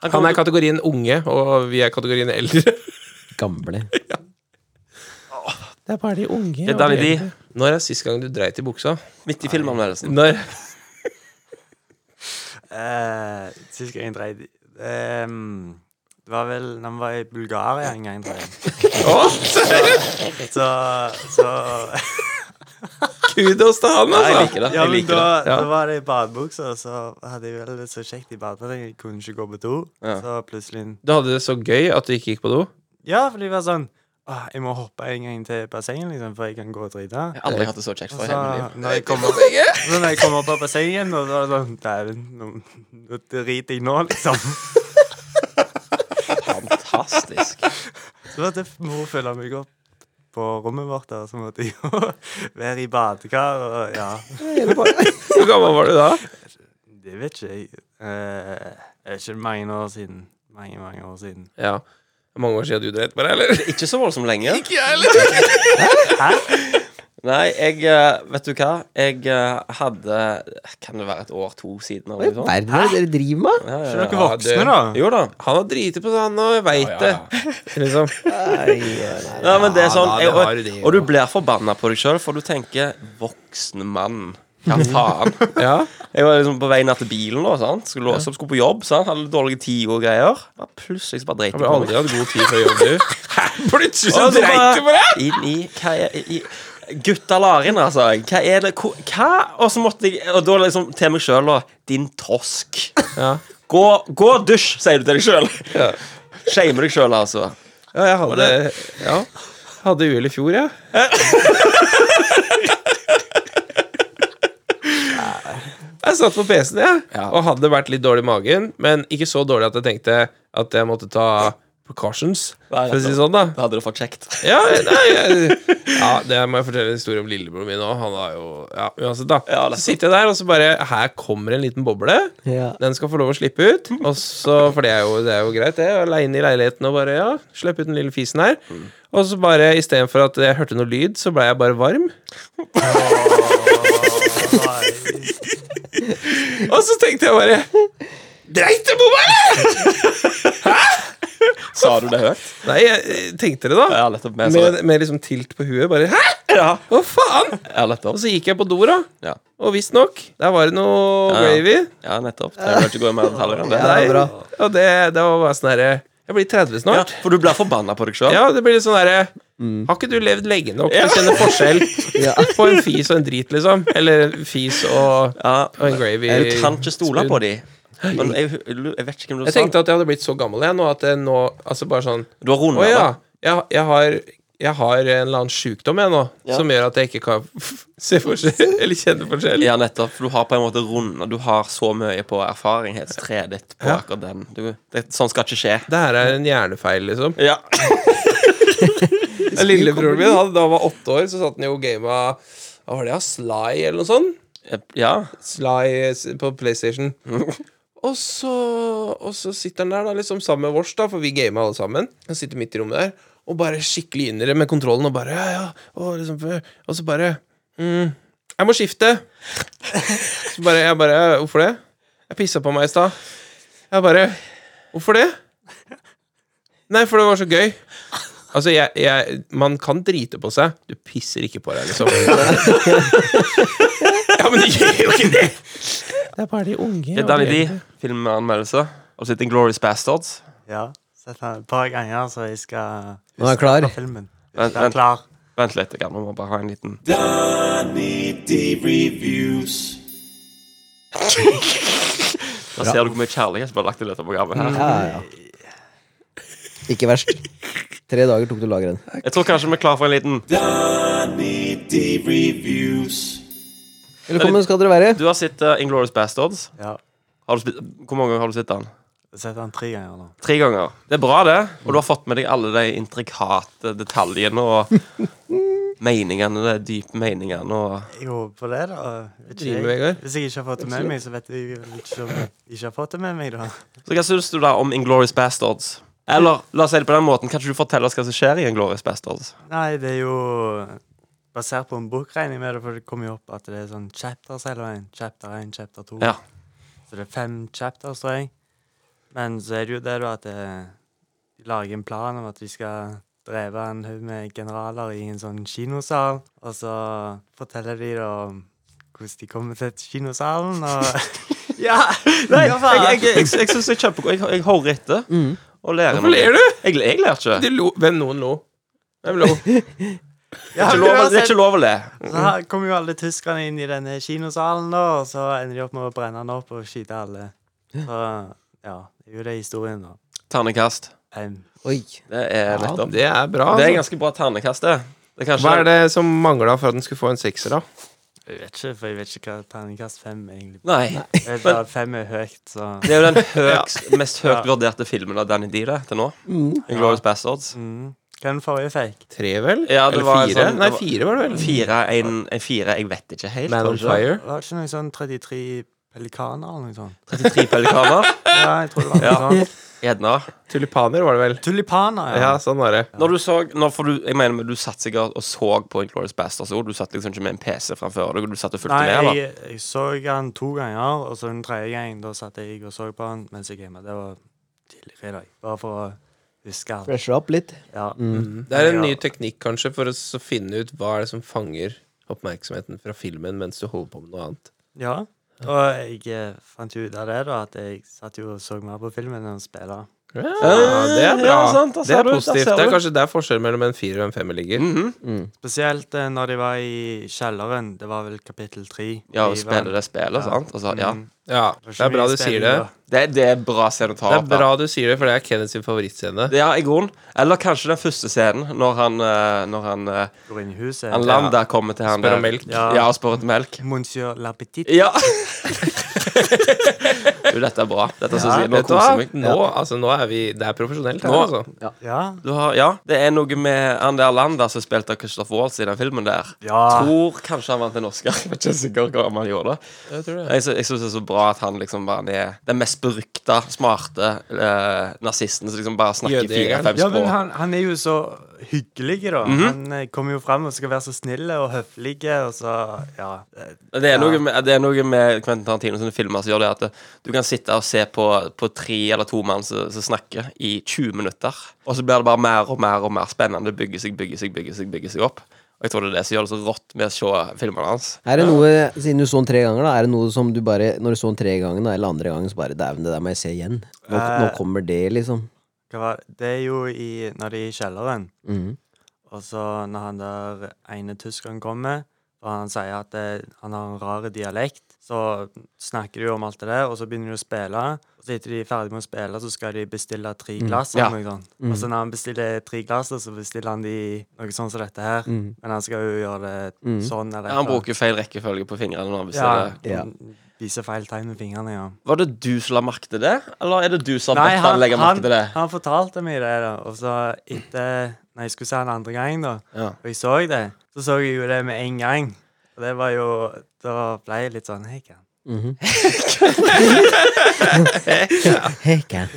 Speaker 4: han
Speaker 1: kommer
Speaker 4: er kategorien unge, og vi er kategorien eldre.
Speaker 3: Gamle.
Speaker 4: Det er bare de unge.
Speaker 1: til Danny D.
Speaker 4: Når er sist gang du dreit i buksa?
Speaker 1: Midt i filmanmeldelsen.
Speaker 4: Når?
Speaker 5: Eh, sist gang jeg dreide ehm, Det var vel når vi var i Bulgaria en gang. tror jeg. Så, så
Speaker 4: Kudos til han,
Speaker 1: Nei,
Speaker 4: altså!
Speaker 1: jeg liker det.
Speaker 5: Ja,
Speaker 1: Jeg
Speaker 5: men
Speaker 1: liker det.
Speaker 5: da,
Speaker 4: ja.
Speaker 5: da var det i badebuksa, og så hadde jeg vel det så kjekt i badet at jeg kunne ikke gå på do.
Speaker 1: Ja.
Speaker 5: Så plutselig
Speaker 4: Du hadde det så gøy at du ikke gikk på do?
Speaker 5: Ja, for det var sånn Åh, jeg må hoppe en gang til bassenget, liksom, for jeg kan gå og drite.
Speaker 1: Jeg har aldri hatt det så kjekt
Speaker 5: Og
Speaker 1: for i
Speaker 5: så
Speaker 1: hele mitt liv.
Speaker 5: når jeg kom opp, så når jeg kom opp av bassenget igjen, og så var det sånn Dæven, nå, nå driter jeg nå, liksom.
Speaker 4: Altså-
Speaker 1: Fantastisk.
Speaker 5: Så måtte mor følge meg opp på rommet vårt, og så måtte jeg jo være i badekar. Og ja,
Speaker 4: Hvor gammel var du da?
Speaker 5: det vet ikke jeg. Eh, det er ikke mange år siden. Mange, mange år siden.
Speaker 4: Ja. Mange år siden du dreit på deg, eller?
Speaker 1: Ikke så voldsomt lenge.
Speaker 4: Ikke jeg heller!
Speaker 1: Nei, jeg eh, Vet du hva? Jeg eh, hadde Kan det være et år, to siden?
Speaker 3: Hva i
Speaker 1: Eller noe sånt?
Speaker 3: verden er det dere driver med?
Speaker 1: Ja,
Speaker 5: Er
Speaker 1: Eh, ja,
Speaker 5: dere
Speaker 4: Ja,
Speaker 5: voksne,
Speaker 4: det-
Speaker 5: da?
Speaker 1: ja. Jo da.
Speaker 4: Han har driti på seg, han, og jeg veit det. Liksom.
Speaker 3: Nei, nei.
Speaker 1: Ja, men det er sånn
Speaker 4: da, det
Speaker 1: jeg,
Speaker 4: har du
Speaker 1: og,
Speaker 4: det,
Speaker 1: og du blir forbanna på deg sjøl, for du tenker 'voksen mann'. Hva
Speaker 4: Mm.
Speaker 1: faen?
Speaker 4: Ja.
Speaker 1: Jeg var liksom på vei ned til bilen, da, sant? skulle låse opp, skulle på jobb. Sant? Hadde litt dårlige tider og greier. Bare plutselig så bare dreit
Speaker 4: Han
Speaker 1: jeg
Speaker 4: har
Speaker 1: på meg.
Speaker 4: aldri hatt god tid for å jobbe, du. Hæ? Plutselig så
Speaker 1: Og så
Speaker 4: dreit du på deg!
Speaker 1: Inn i, hva er, i Gutta Larin, altså. Hva er det hvor- Hva? Og så måtte jeg Og da liksom til meg sjøl, da. Din tosk.
Speaker 4: Ja.
Speaker 1: Gå, gå og dusj, sier du til deg sjøl. Shamer deg sjøl, altså.
Speaker 4: ja, jeg hadde Ja. Jeg Hadde uhell i fjor, jeg. Ja. Jeg satt på PC-en, jeg, og hadde vært litt dårlig i magen. Men ikke så dårlig at jeg tenkte at jeg måtte ta precautions,
Speaker 1: Nei,
Speaker 4: for å si det sånn, da.
Speaker 1: Da hadde du fått kjekt.
Speaker 4: Ja, nei, jeg, ja, det må jeg fortelle en historie om lillebroren min òg. Han er jo Ja, uansett, da.
Speaker 1: Ja, det er
Speaker 4: så sitter jeg der, og så bare Her kommer en liten boble.
Speaker 3: Ja.
Speaker 4: Den skal få lov å slippe ut.
Speaker 1: Mm.
Speaker 4: Og så, For det er jo, det er jo greit, det. Aleine i leiligheten og bare Ja, slipp ut den lille fisen her.
Speaker 1: Mm.
Speaker 4: Og så bare istedenfor at jeg hørte noe lyd, så blei jeg bare varm. Og så tenkte jeg bare Dreit jeg på meg, eller?!
Speaker 1: Sa du det høyt?
Speaker 4: Nei, jeg tenkte det, da.
Speaker 1: Ja, nettopp. Men jeg sa
Speaker 4: Med,
Speaker 1: det.
Speaker 4: med liksom tilt på huet. Bare Hæ?!
Speaker 1: Ja,
Speaker 4: Hva faen?!
Speaker 1: ja nettopp.
Speaker 4: Og så gikk jeg på do, da.
Speaker 1: Ja.
Speaker 4: Og visstnok, der var det noe
Speaker 1: Ja, ja.
Speaker 4: gravy.
Speaker 1: ja, nettopp. Jeg vil ikke gå i mer detaljer enn det.
Speaker 3: Ja, det er bra.
Speaker 4: Og det, det var bare sånn herre Jeg blir 30
Speaker 1: Ja,
Speaker 4: snart.
Speaker 1: for du blir forbanna på deg
Speaker 4: Ja,
Speaker 1: sjøl.
Speaker 4: det blir litt sånn herre Har ikke du levd lenge nok til å kjenne forskjell
Speaker 3: Ja.
Speaker 4: på en fis og en drit, liksom? Eller en fis og, og en gravy
Speaker 1: Du kan ikke stole på
Speaker 4: det.
Speaker 1: de Men jeg, jeg vet ikke hvem du
Speaker 4: Jeg
Speaker 1: sa.
Speaker 4: tenkte at jeg hadde blitt så gammel jeg nå at jeg nå Altså bare sånn
Speaker 1: Du har
Speaker 4: Å
Speaker 1: runda Mm.
Speaker 4: ja,
Speaker 1: da.
Speaker 4: jeg, jeg har jeg har en eller annen sjukdom jeg nå som gjør at jeg ikke kan se forskjell eller kjenne forskjell.
Speaker 1: Ja, nettopp. For du har på en måte runda Du har så mye på erfaring, helt treet ditt, på
Speaker 4: Ja.
Speaker 1: akkurat den. Du, det, sånn skal ikke skje.
Speaker 4: Det her er en hjernefeil, liksom.
Speaker 1: Ja.
Speaker 4: Ja, Lillebroren min hadde, da han var åtte år, så satt han jo og gama Hva var det, da? Sly eller noe sånt?
Speaker 1: ja.
Speaker 4: Sly eh, s- på PlayStation. Og så, og så sitter han der da liksom sammen med vårs, da, for vi gamer alle sammen. Han sitter midt i rommet der og bare skikkelig innere med kontrollen og bare ja, ja, og, liksom, øh, og så bare mm, Jeg må skifte. Så bare jeg bare «Ja, Hvorfor det? Jeg pissa på meg i stad. Jeg bare Hvorfor det? Nei, for det var så gøy. Altså, jeg, jeg Man kan drite på seg. Du pisser ikke på deg, liksom. ja, men det gjør jo ikke det! Det er bare de unge.
Speaker 1: Det er Danny D. Filmanmeldelse. Og så sitter Glorious Bastards.
Speaker 5: Ja. Sett han et par ganger, så jeg skal
Speaker 3: Nå er han klar.
Speaker 5: huske filmen.
Speaker 1: Vent,
Speaker 5: Jeg er
Speaker 1: vent.
Speaker 5: klar.
Speaker 1: Vent litt, jeg må bare ha en liten Da ser du hvor mye kjærlighet som er lagt i dette programmet. her
Speaker 3: Ja, ja. Ikke verst. Tre dager tok det å lagre den.
Speaker 1: Jeg tror kanskje vi er klar for en liten
Speaker 3: Velkommen skal dere være.
Speaker 1: Du har sett uh, Inglorious Bastards.
Speaker 5: Ja.
Speaker 1: Har du spilt- Hvor mange ganger har du sett den?
Speaker 5: Sett han tre ganger nå.
Speaker 1: Tre ganger. Det er bra, det. Og du har fått med deg alle de intrikate detaljene og meningene, de dype meningene og
Speaker 5: Jeg håper det, da. Vet ikke
Speaker 4: Driver
Speaker 5: jeg.
Speaker 4: med, Vegard.
Speaker 5: Hvis jeg ikke har fått det med meg, så vet jeg vel ikke om jeg ikke har fått det med meg, da.
Speaker 1: Så hva syns du da om Inglorious Bastards? Eller la oss si det på den måten, kan ikke du fortelle oss hva som skjer i Inglorious Bastards?
Speaker 5: Nei, det er jo basert på en bok, regner jeg med, det, for det kommer jo opp at det er sånn chapters hele veien. Chapter 1, chapter 2.
Speaker 1: Ja.
Speaker 5: Så det er fem chapters, tror jeg. Men så er det jo det, da, at det, de lager en plan om at de skal dreve en haug med generaler i en sånn kinosal. Og så forteller de da om hvordan de kommer til kinosalen, og Ja! Nei,
Speaker 1: Jeg,
Speaker 5: hva faen?
Speaker 1: jeg, jeg, jeg syns jeg er kjempegod. Jeg, jeg hører etter og lærer.
Speaker 4: Hvorfor ler du?
Speaker 1: Jeg, jeg Mm. ler ikke.
Speaker 4: De lo. Hvem noen lo? Hvem lo?
Speaker 1: Det er ikke lov, det er ikke lov å le.
Speaker 5: Så her kommer jo alle tyskerne inn i denne kinosalen, da, og så ender de opp med å brenne den opp og skyte alle. Så ja, det er jo det historien, da.
Speaker 1: Ternekast.
Speaker 5: Em,
Speaker 3: Oi.
Speaker 1: Det er
Speaker 4: Ja,
Speaker 1: nettopp.
Speaker 4: det er bra.
Speaker 1: Det er
Speaker 4: altså.
Speaker 1: ganske bra ternekast, det. det er kanskje,
Speaker 4: Hva er det som mangla for at den skulle få en sekser, da?
Speaker 5: jeg vet ikke, for jeg vet ikke hva terningkast fem egentlig
Speaker 1: Nei.
Speaker 5: Jeg vet bare at fem er høyt, så
Speaker 1: Det er jo den høyst, mest høyt vurderte filmen av Danny D det, til nå. Glorious Bastards.
Speaker 5: mm. Hva den forrige fikk?
Speaker 4: Tre, vel?
Speaker 1: Ja, det
Speaker 4: Eller
Speaker 1: var en
Speaker 4: fire?
Speaker 1: sånn-
Speaker 4: Nei,
Speaker 1: det var-
Speaker 4: fire var det vel?
Speaker 1: Fire, en, en fire, jeg vet ikke helt.
Speaker 4: Man
Speaker 1: var
Speaker 4: on
Speaker 1: det ikke det?
Speaker 4: fire.
Speaker 5: Var det ikke noe sånn 33 pelikaner eller noe sånt?
Speaker 1: 33 pelikaner.
Speaker 5: Ja, jeg tror det var
Speaker 1: Ja.
Speaker 5: noe sånt.
Speaker 1: Gjerne.
Speaker 4: Tulipaner var det vel?
Speaker 5: Tulipaner, ja.
Speaker 4: Ja, sånn var det.
Speaker 1: Når du så når for du, Jeg mener, men du satt sikkert og så på Glorious Bastards òg. Du satt liksom ikke med en PC framfor deg, og du satt og fulgte
Speaker 5: Nei,
Speaker 1: med. eller?
Speaker 5: jeg, jeg så han to ganger, og så den tredje gangen da satt jeg og så på han mens jeg gamet. Det var tidligere i dag. Bare for å huske alt.
Speaker 3: Fresher opp litt.
Speaker 5: Ja.
Speaker 4: Det er en
Speaker 5: Ja.
Speaker 4: ny teknikk, kanskje, for å s- finne ut hva er det som fanger oppmerksomheten fra filmen mens du holder på med noe annet.
Speaker 5: Ja. Og jeg eh, fant jo ut av det, da, at jeg satt jo og så mer på filmen enn å spille.
Speaker 4: Ja, det er bra.
Speaker 1: ja, sant, da
Speaker 4: det
Speaker 1: ser
Speaker 4: er
Speaker 1: du, da
Speaker 4: positivt.
Speaker 1: ser
Speaker 4: Det er
Speaker 1: du. Mhm.
Speaker 4: kanskje der forskjellen mellom en firer og en femmer ligger.
Speaker 5: Spesielt eh, når de var i kjelleren. Det var vel kapittel tre.
Speaker 1: Ja,
Speaker 5: De
Speaker 1: og spille
Speaker 5: var-
Speaker 1: det spillet, sant? Altså, ja.
Speaker 5: Mm.
Speaker 4: Ja,
Speaker 5: var
Speaker 4: Det
Speaker 5: ikke
Speaker 4: er bra
Speaker 5: mye
Speaker 4: du sier
Speaker 5: spilling
Speaker 4: det.
Speaker 5: da.
Speaker 1: Det, det er bra scene å ta
Speaker 4: Det er
Speaker 1: opp. da.
Speaker 4: bra du sier det, for det er Kenneth sin favorittscene.
Speaker 1: Ja, i grunnen. Eller kanskje den første scenen, når han, eh, når han, eh,
Speaker 5: Går inn i huset.
Speaker 1: han Landa kommer til han
Speaker 4: Spør om
Speaker 1: der-
Speaker 4: melk.
Speaker 1: Ja, og spør etter melk.
Speaker 5: Monsieur Lappetit.
Speaker 1: Ja. Du, dette er bra. Dette synes jeg, nå
Speaker 4: Vet du hva?
Speaker 1: koser jeg meg.
Speaker 4: Nå, altså, nå er vi Det er profesjonelt her,
Speaker 1: Nå-
Speaker 4: altså.
Speaker 5: Ja.
Speaker 1: Du har, ja, det er noe med han der Lander som spilte av Christopher Waltz i den filmen der.
Speaker 5: Ja.
Speaker 1: Tror kanskje han vant en Oscar. Jeg er ikke sikker hva han gjorde. Jeg, sy- jeg syns det er så bra at han liksom bare han er den mest berykta, smarte eh, nazisten som liksom bare snakker
Speaker 4: Jødejegeren.
Speaker 1: fire-fem
Speaker 5: Ja, men
Speaker 1: språk.
Speaker 5: han, han er jo så hyggelig, da.
Speaker 4: Mhm.
Speaker 5: Han eh, kommer jo fram og skal være så snill og høflig, og så Ja. eh,
Speaker 1: Det er, noe
Speaker 5: Ja.
Speaker 1: med, det er noe med Quentin Tarantino sine filmer som gjør det at det- du kan sitte og se på, på tre eller to mann som, som snakker i 20 minutter, og så blir det bare mer og mer og mer spennende. Det Bygger seg, bygger seg, bygger seg, bygger seg opp. Og jeg tror det er det som gjør det så rått med å se filmene hans.
Speaker 3: Er det noe, siden du så den tre ganger, da, er det noe som du bare Når du så den tre ganger, da, eller andre gangen, så bare Dæven, det der må jeg se igjen. Nå, nå
Speaker 5: Eh.
Speaker 3: kommer det, liksom.
Speaker 5: Hva var Det er jo i Når de er i kjelleren,
Speaker 3: Mhm.
Speaker 5: og så når han der ene tyskeren kommer, og han sier at eh, han har en rar dialekt, så snakker de jo om alt det der, og så begynner de å spille. Og så etter de er ferdige med å spille, så skal de bestille tre glass.
Speaker 1: Ja.
Speaker 5: eller noe sånt.
Speaker 3: Mm.
Speaker 5: Og
Speaker 3: altså,
Speaker 5: så når han bestiller tre glass, så bestiller han de noe sånn som dette
Speaker 3: Mm.
Speaker 5: her. Men han skal jo gjøre det sånn. Eller
Speaker 1: Ja, han bruker feil rekkefølge på fingrene. Når han
Speaker 5: Ja,
Speaker 1: bestiller.
Speaker 3: Ja.
Speaker 5: Viser feil tegn med fingrene, ja.
Speaker 1: Var det du som la merke til det, eller er det du som har bedt han legge merke
Speaker 5: han,
Speaker 1: til det?
Speaker 5: han fortalte meg det, da. Og så etter Når jeg skulle se den andre gangen, da,
Speaker 1: Ja.
Speaker 5: og jeg så det, så så jeg jo det med en gang. Og det var jo Da ble jeg litt sånn Hei, kan.
Speaker 3: Mm-hmm. Hei, Ken.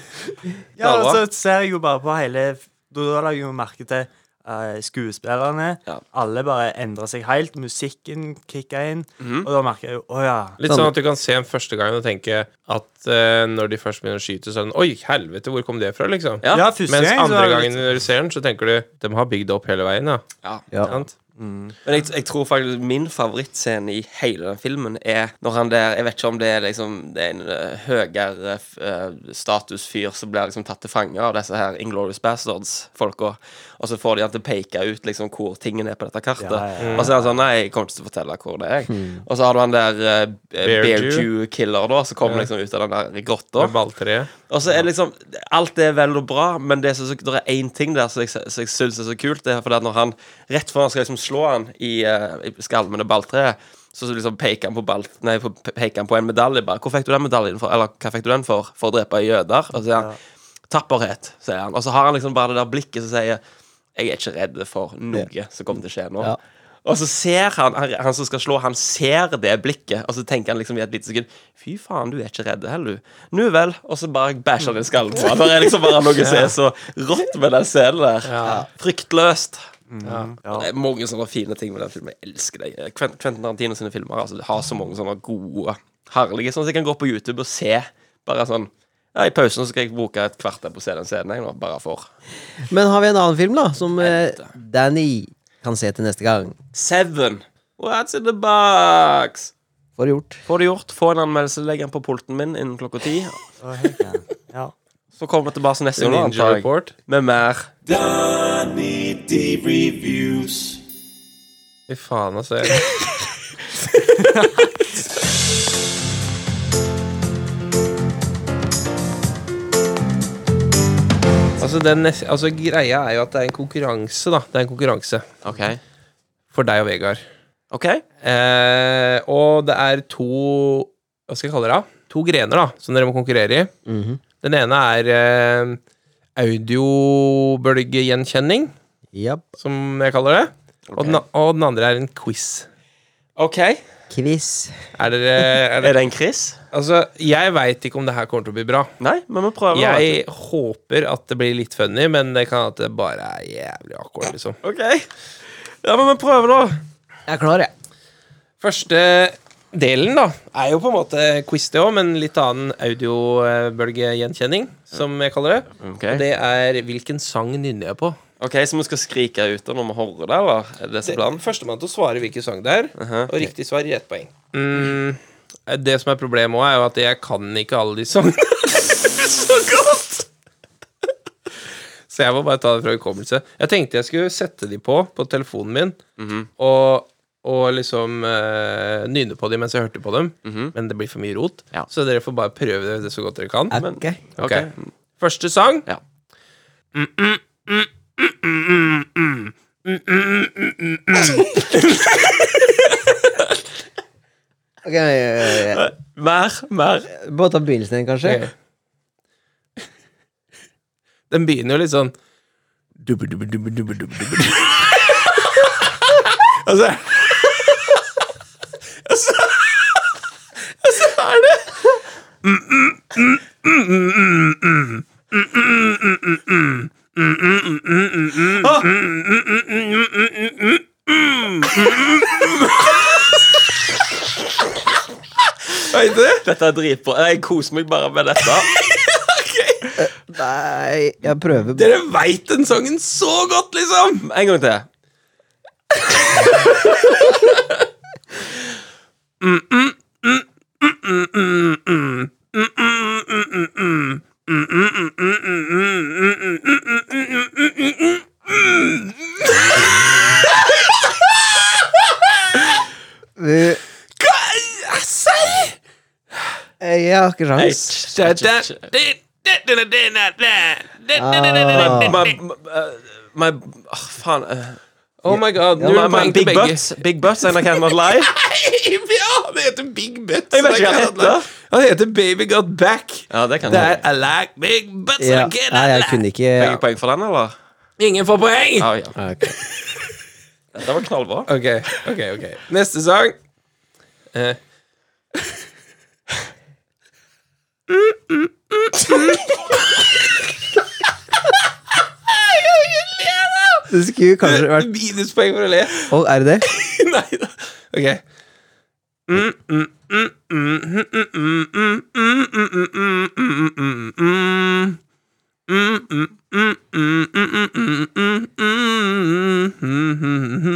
Speaker 5: Ja, og
Speaker 1: bra.
Speaker 5: så ser jeg jo bare på hele Da da la jeg jo merke til eh, skuespillerne.
Speaker 1: Ja.
Speaker 5: Alle bare endra seg helt. Musikken kicka inn. Og da merker jeg jo Å ja.
Speaker 4: Litt sånn at du kan se dem første gangen og tenke at eh, når de først begynner å skyte, så er den Oi, helvete, hvor kom det fra, liksom?
Speaker 1: Ja.
Speaker 5: Ja, første
Speaker 4: Mens
Speaker 5: gang så
Speaker 4: andre
Speaker 5: var det
Speaker 4: gangen du ser den, så tenker du De har bygd det opp hele veien, ja.
Speaker 1: Ja.
Speaker 3: Ja.
Speaker 4: Sant?
Speaker 1: Men jeg, jeg tror faktisk min favorittscene i hele den filmen er når han der Jeg vet ikke om det er liksom Det er en eh, høyere eh, statusfyr som blir liksom tatt til fange av disse her Inglorious Bastards-folka, og så får de han til å peke ut liksom hvor tingene er på dette kartet.
Speaker 5: Ja, ja, Hmm.
Speaker 1: Og så er han sånn Nei, jeg kommer ikke til å fortelle hvor det er. Og så har du han der uh,
Speaker 4: Bear
Speaker 1: Bear
Speaker 4: Jew.
Speaker 1: Jew-killer, da, som kommer
Speaker 4: Ja.
Speaker 1: liksom ut av den der grotta.
Speaker 4: Med balltreet.
Speaker 1: Og så er det liksom Alt er vel og bra, men det, er så, det er én ting der som jeg, som jeg syns er så kult. Det er fordi at når han rett før han skal liksom slå han i, eh, i skallen med det balltreet, så liksom peker han på, ball, nei, på, peker han på en medalje. bare 'Hvor fikk du den medaljen for?' Eller 'Hva fikk du den for?' For å drepe jøder. Og så sier han 'Tapperhet', sier han. Og så har han liksom bare det der blikket som sier 'Jeg er ikke redd for noe som kommer til å skje nå'.
Speaker 3: Ja.
Speaker 1: Og så ser han, han Han som skal slå, han ser det blikket, og så tenker han liksom i et lite sekund Fy faen, du er ikke redd heller, du. Nu vel. Og så bare bæsjer han i skallen på ham. Det er liksom bare noe som er så rått med den scenen der. Fryktløst. Og Det er mange sånne fine ting med den filmen. Jeg elsker det. Quen- Quentin Tarantino sine filmer altså, de har så mange sånne gode, herlige Sånn at jeg kan gå på YouTube og se. Bare sånn ja, I pausen så skal jeg bruke et kvarter på å se den scenen. Jeg nå, bare for
Speaker 3: Men har vi en annen film, da, som eh, Danny kan se til neste gang?
Speaker 1: Seven. What's in the box?
Speaker 3: Får gjort.
Speaker 1: Få det gjort. Få en anmeldelse. Legg den på pulten min innen klokka ti.
Speaker 5: Å, hei, kan. Ja.
Speaker 1: Så kommer vi tilbake neste gang
Speaker 4: Ninja
Speaker 1: antar jeg,
Speaker 4: Report.
Speaker 1: med mer.
Speaker 4: Fy faen, altså. jeg- altså, den, nes- altså, greia er jo at det er en konkurranse, da. Det er en konkurranse
Speaker 1: OK.
Speaker 4: for deg og Vegard.
Speaker 1: ok
Speaker 4: Eh, og det er to Hva skal jeg kalle det? da? To grener da, som dere må konkurrere i.
Speaker 3: Mm-hmm.
Speaker 4: Den ene er eh, audiobølgegjenkjenning,
Speaker 3: Japp.
Speaker 4: som jeg kaller det. Og, den, og den andre er en quiz.
Speaker 1: Ok
Speaker 3: Quiz.
Speaker 4: Er dere er
Speaker 1: Er det en Chris?
Speaker 4: Altså, jeg veit ikke om det her kommer til å bli bra.
Speaker 1: Nei, men vi prøver.
Speaker 4: Jeg håper at det blir litt funny, men det kan at det bare er jævlig akkurat, liksom.
Speaker 1: vet du. OK. Ja, men vi prøver, da.
Speaker 3: Jeg er klar, jeg.
Speaker 4: Første delen, da, er jo på en måte quiz, det òg, men litt annen audiobølgegjenkjenning, som jeg kaller det.
Speaker 1: Ok,
Speaker 4: Og det er hvilken sang nynner jeg på.
Speaker 1: Ok, Så vi skal skrike ut da når vi hører det, eller? Er det som er planen?
Speaker 4: Førstemann til å svare hvilken sang det er, og riktig svar gir ett poeng. Mm, det som er problemet òg, er jo at jeg kan ikke alle de sangene så godt! Så jeg må bare ta det fra hukommelse. Jeg tenkte jeg skulle sette de på på telefonen min, og, og liksom eh, nynne på de mens jeg hørte på dem, men det blir for mye rot.
Speaker 1: Ja.
Speaker 4: Så dere får bare prøve det, så godt dere kan. Men,
Speaker 3: Ok.
Speaker 4: Ok. Første sang.
Speaker 1: Ja.
Speaker 3: Ok, ja, ja, ja.
Speaker 1: Mer, mer.
Speaker 3: Bare ta begynnelsen igjen, kanskje?
Speaker 4: Ok. Den begynner jo litt sånn dubbe, dubbe, dubbe, dubbe, dubbe, dubbe.
Speaker 1: Altså Altså altså er det
Speaker 4: Hva heter det?
Speaker 1: Dette er dritbra. Jeg koser meg bare med dette.
Speaker 3: Nei, jeg prøver bare.
Speaker 4: Dere veit den sangen så godt, liksom!
Speaker 1: En gang til.
Speaker 3: Eh, Jeg har ikke sjans.
Speaker 1: My,
Speaker 3: Ah,
Speaker 1: my, uh, my åh, Faen. uh,
Speaker 4: Oh my god,
Speaker 1: my,
Speaker 4: null
Speaker 1: my
Speaker 4: poeng til
Speaker 1: big
Speaker 4: begge.
Speaker 1: butts. Big butts and I can't not lie.
Speaker 4: Ja, det heter Big Butts.
Speaker 1: Jeg vet ikke hva det heter.
Speaker 4: Han heter Baby Got Back.
Speaker 1: Ja, det kan
Speaker 4: Det
Speaker 1: jeg.
Speaker 4: er I like big butts.
Speaker 3: ja.
Speaker 4: I get
Speaker 3: Nei,
Speaker 4: it.
Speaker 3: jeg kunne ikke
Speaker 1: Fikk jeg poeng for den, eller?
Speaker 4: Ingen får poeng!
Speaker 1: Ja, ja.
Speaker 3: Ah, ok.
Speaker 1: Dette var knallbra.
Speaker 4: Ok, ok, ok. Neste sang. Eh.
Speaker 3: Det skulle kanskje vært
Speaker 4: Minuspoeng for å le.
Speaker 3: Å, er det det?
Speaker 4: Nei da. Ok.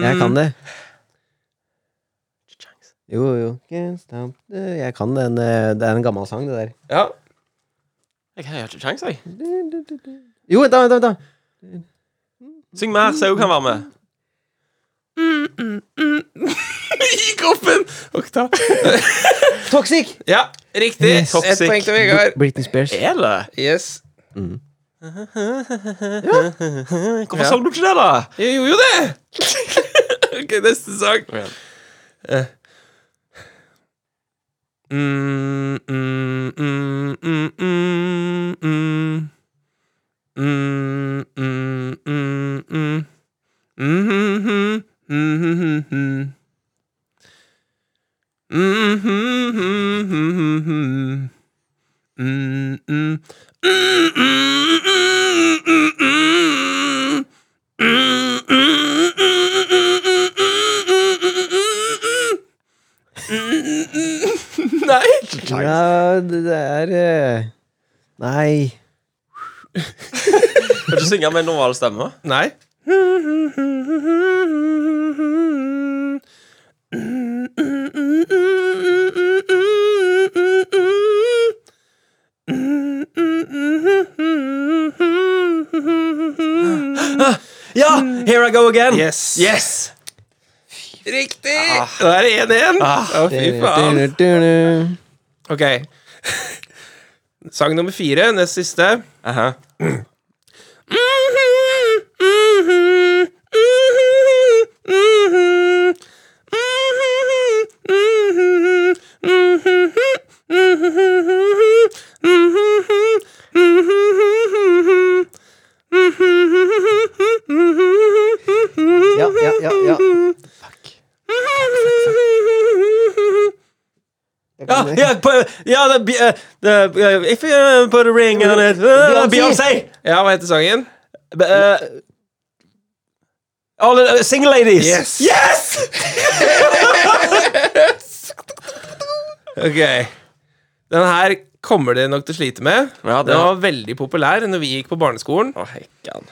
Speaker 3: Jeg kan det. Jo, jo. Can't stop the- Jeg kan den. eh, Det er en gammel sang, det der.
Speaker 4: Ja.
Speaker 1: Jeg har ikke kjangs, jeg.
Speaker 3: Jo, vent, da, vent, da, vent. da.
Speaker 1: Syng mer, så jeg kan være med.
Speaker 4: Mm, Gikk opp en oktav.
Speaker 3: Toxic!
Speaker 4: Ja, riktig.
Speaker 3: Yes.
Speaker 4: Ett poeng til Vegard.
Speaker 3: Britney Spears.
Speaker 1: Er det?
Speaker 4: Yes.
Speaker 1: Hvorfor sang du ikke det, da?
Speaker 4: Jeg gjorde jo det! ok, neste sang.
Speaker 1: Ok.
Speaker 4: Mm, mm, mm, mm, mm, mm. Mm, mm, mm, mm. Mhm, mhm, mhm. Mhm, mhm, mhm. Mm, mm. Mm, mm, mm, mm, mm. Mm, mm, mm, mm, mm, mm. Nei!
Speaker 3: Ja, det det er eh, Nei.
Speaker 1: Kan du synge med normal stemme?
Speaker 4: Nei.
Speaker 1: Ja! Here I go again.
Speaker 4: Yes.
Speaker 1: Yes!
Speaker 4: Riktig! Da er det 1-1. Å, fy faen. Ok. Sang nummer fire, nest siste.
Speaker 1: Aha.
Speaker 3: Ja, ja, ja, ja. Jeg
Speaker 1: Ja,
Speaker 3: kan det.
Speaker 1: ja, på, ja det, be- eh, det, eh, If you put a ring on it eh, Beyoncé!
Speaker 4: Ja, hva heter sangen?
Speaker 1: Be- eh, all the, eh, single ladies!
Speaker 4: Yes.
Speaker 1: Yes!
Speaker 4: Ok Den her kommer det nok til å slite med
Speaker 1: Ja, det-
Speaker 4: Den var veldig populær når vi gikk på barneskolen
Speaker 1: Å, hekkan.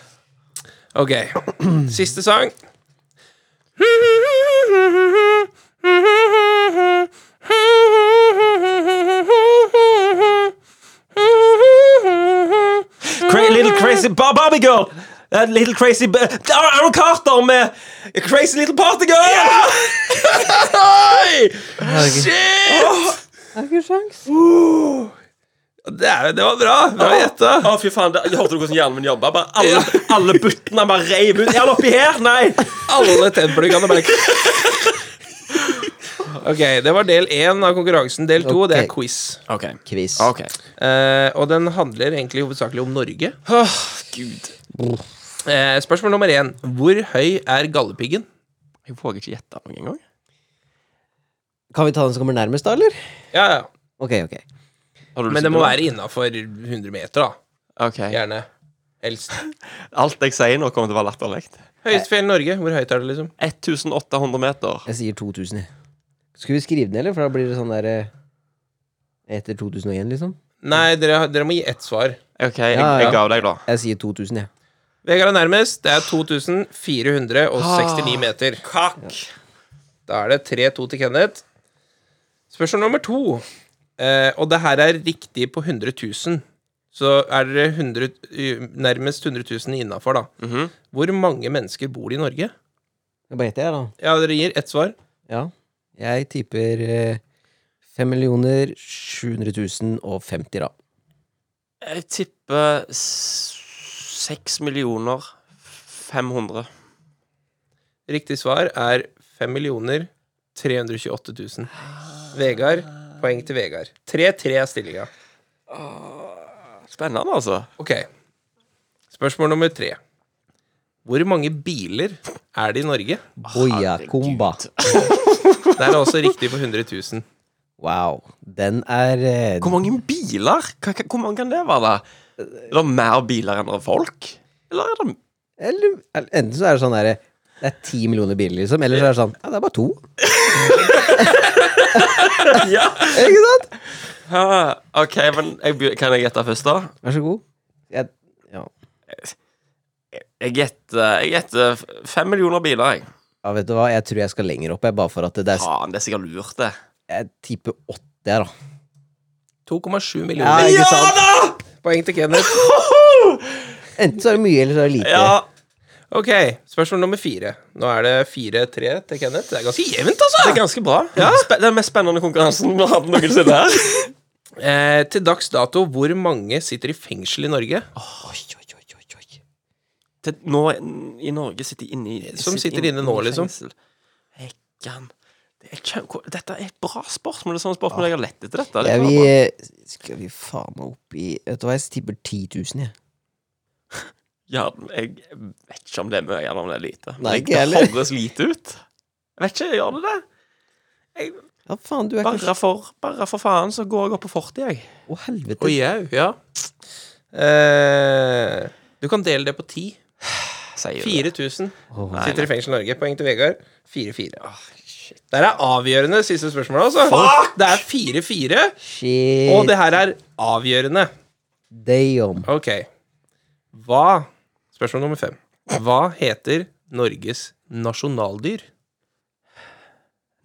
Speaker 4: Ok, siste sang
Speaker 1: Cra little crazy bar Barbie girl! Eh, little crazy ba- Ar- Aaron Carter med Crazy Little Party Girl!
Speaker 3: Jeg har ikke sjans.
Speaker 4: det, er, det var bra, bra gjetta
Speaker 1: Å, fy faen, det, Hørte du hvordan hjernen min jobba? Bare Alle, alle buttene bare reiv ut. Er han oppi her? Nei!
Speaker 4: Alle tennpluggene bare Ok, det var del én av konkurransen. Del to, det
Speaker 3: Ok.
Speaker 4: er quiz.
Speaker 1: OK.
Speaker 3: Quiz.
Speaker 1: Ok.
Speaker 4: Eh, og den handler egentlig hovedsakelig om Norge.
Speaker 1: Åh, Gud.
Speaker 4: Eh, spørsmål nummer én. Hvor høy er gallepiggen?
Speaker 1: Jeg våger ikke gjette noe engang.
Speaker 3: Kan vi ta den som kommer nærmest, da, eller?
Speaker 4: Ja, ja.
Speaker 3: Ok, ok.
Speaker 1: Har du lyst
Speaker 4: Men det
Speaker 1: til
Speaker 4: må
Speaker 1: å-
Speaker 4: være innafor 100 meter, da.
Speaker 1: Ok.
Speaker 4: Gjerne. Helst.
Speaker 1: Alt jeg sier nå, kommer til å være latterlig.
Speaker 4: Høyeste fjell i Norge. Hvor høyt er det, liksom?
Speaker 1: 1800 meter.
Speaker 3: Jeg sier 2000, jeg. Skal vi skrive den, eller? For da blir det sånn der eh, Etter 2001, liksom.
Speaker 4: Nei, dere, dere må gi ett svar.
Speaker 1: OK, jeg,
Speaker 3: Ja, ja.
Speaker 1: jeg ga deg, da.
Speaker 3: Jeg sier 2000, jeg.
Speaker 4: Vegard er nærmest. Det er 2469 meter. Kakk! Da er det 3-2 til Kenneth. Spørsmål nummer to. Eh, og det her er riktig på 100 000. Så er dere 100, u- nærmest 100 000 innafor, da.
Speaker 1: Mhm.
Speaker 4: Hvor mange mennesker bor det i Norge?
Speaker 3: Jeg bare gjetter, jeg, da.
Speaker 4: Ja, Dere gir ett svar.
Speaker 3: Ja. Jeg tipper eh, 5 millioner 700 000 og 50, da.
Speaker 1: Jeg tipper 6 millioner 500.
Speaker 4: Riktig svar er 5 millioner 328 000. Vegard. Poeng til Vegard. 3-3 er stillinga.
Speaker 1: Spennende, altså.
Speaker 4: Ok. Spørsmål nummer tre. Hvor mange biler er det i Norge?
Speaker 3: Boia Kumba.
Speaker 4: Det er også riktig på 100 000.
Speaker 3: Wow. Den er eh,
Speaker 1: Hvor mange biler? Hva, hva, hvor mange kan det være? da? Er det mer biler enn det er folk? Eller er det
Speaker 3: eller, eller, Enten så er det sånn derre det er ti millioner biler, liksom. Eller så er det sånn Ja, det er bare to.
Speaker 1: Ja!
Speaker 3: Ikke sant?
Speaker 1: Ah, OK, men jeg, be- kan jeg gjette først, da?
Speaker 3: Vær så god. Jeg, ja.
Speaker 1: Jeg gjetter jeg gjetter fem millioner biler, jeg.
Speaker 3: ja, vet du hva, jeg tror jeg skal lenger opp, jeg, bare for at det er
Speaker 1: Faen, det er sikkert lurt, det.
Speaker 3: Jeg tipper 80 her, da.
Speaker 4: 2,7
Speaker 3: Ja,
Speaker 4: millioner.
Speaker 3: ikke sant?
Speaker 1: da!
Speaker 4: Poeng til Kenneth.
Speaker 3: Enten så er det mye, eller så er det lite.
Speaker 1: Ja,
Speaker 4: Ok, spørsmål nummer fire. Nå er det 4-3 til Kenneth. Det er ganske jevnt, altså!
Speaker 1: det er ganske bra. Spe den mest spennende konkurransen vi har hatt noensinne her.
Speaker 4: Eh, til dags dato, hvor mange sitter i fengsel i Norge
Speaker 3: Oi, oi, oi, oi, oi.
Speaker 1: til, nå i Norge sitter de inne i
Speaker 4: Som sitter inne nå,
Speaker 1: i
Speaker 4: liksom.
Speaker 1: fengsel. Hekkan. Det er kjem, hvor- dette er et bra spørsmål. Det er sånne spørsmål jeg har lett etter dette. Det
Speaker 3: Jeg
Speaker 1: er
Speaker 3: vil,
Speaker 1: bra.
Speaker 3: eh, skal vi faen meg opp i Vet du hva, jeg tipper 10 000, jeg.
Speaker 1: ja, jeg vet ikke om det er mye eller om det er lite.
Speaker 3: Nei,
Speaker 1: Jeg-
Speaker 3: ikke heller.
Speaker 1: Det høres lite ut. Jeg vet ikke, gjør det det?
Speaker 3: Ja, faen, du er kanskje
Speaker 1: Bare for, bare for faen, så går jeg opp på 40, jeg.
Speaker 3: Å, helvete.
Speaker 4: og jau? Ja. Eh, du kan dele det på ti.
Speaker 1: Sier
Speaker 4: 4000
Speaker 3: Åh.
Speaker 4: sitter i fengsel i Norge. Poeng til Vegard. 4-4. Der er avgjørende siste spørsmål, altså. Det er 4-4,
Speaker 3: Shit.
Speaker 4: og det her er avgjørende.
Speaker 3: Damn.
Speaker 4: Ok. Hva Spørsmål nummer fem. Hva heter Norges nasjonaldyr?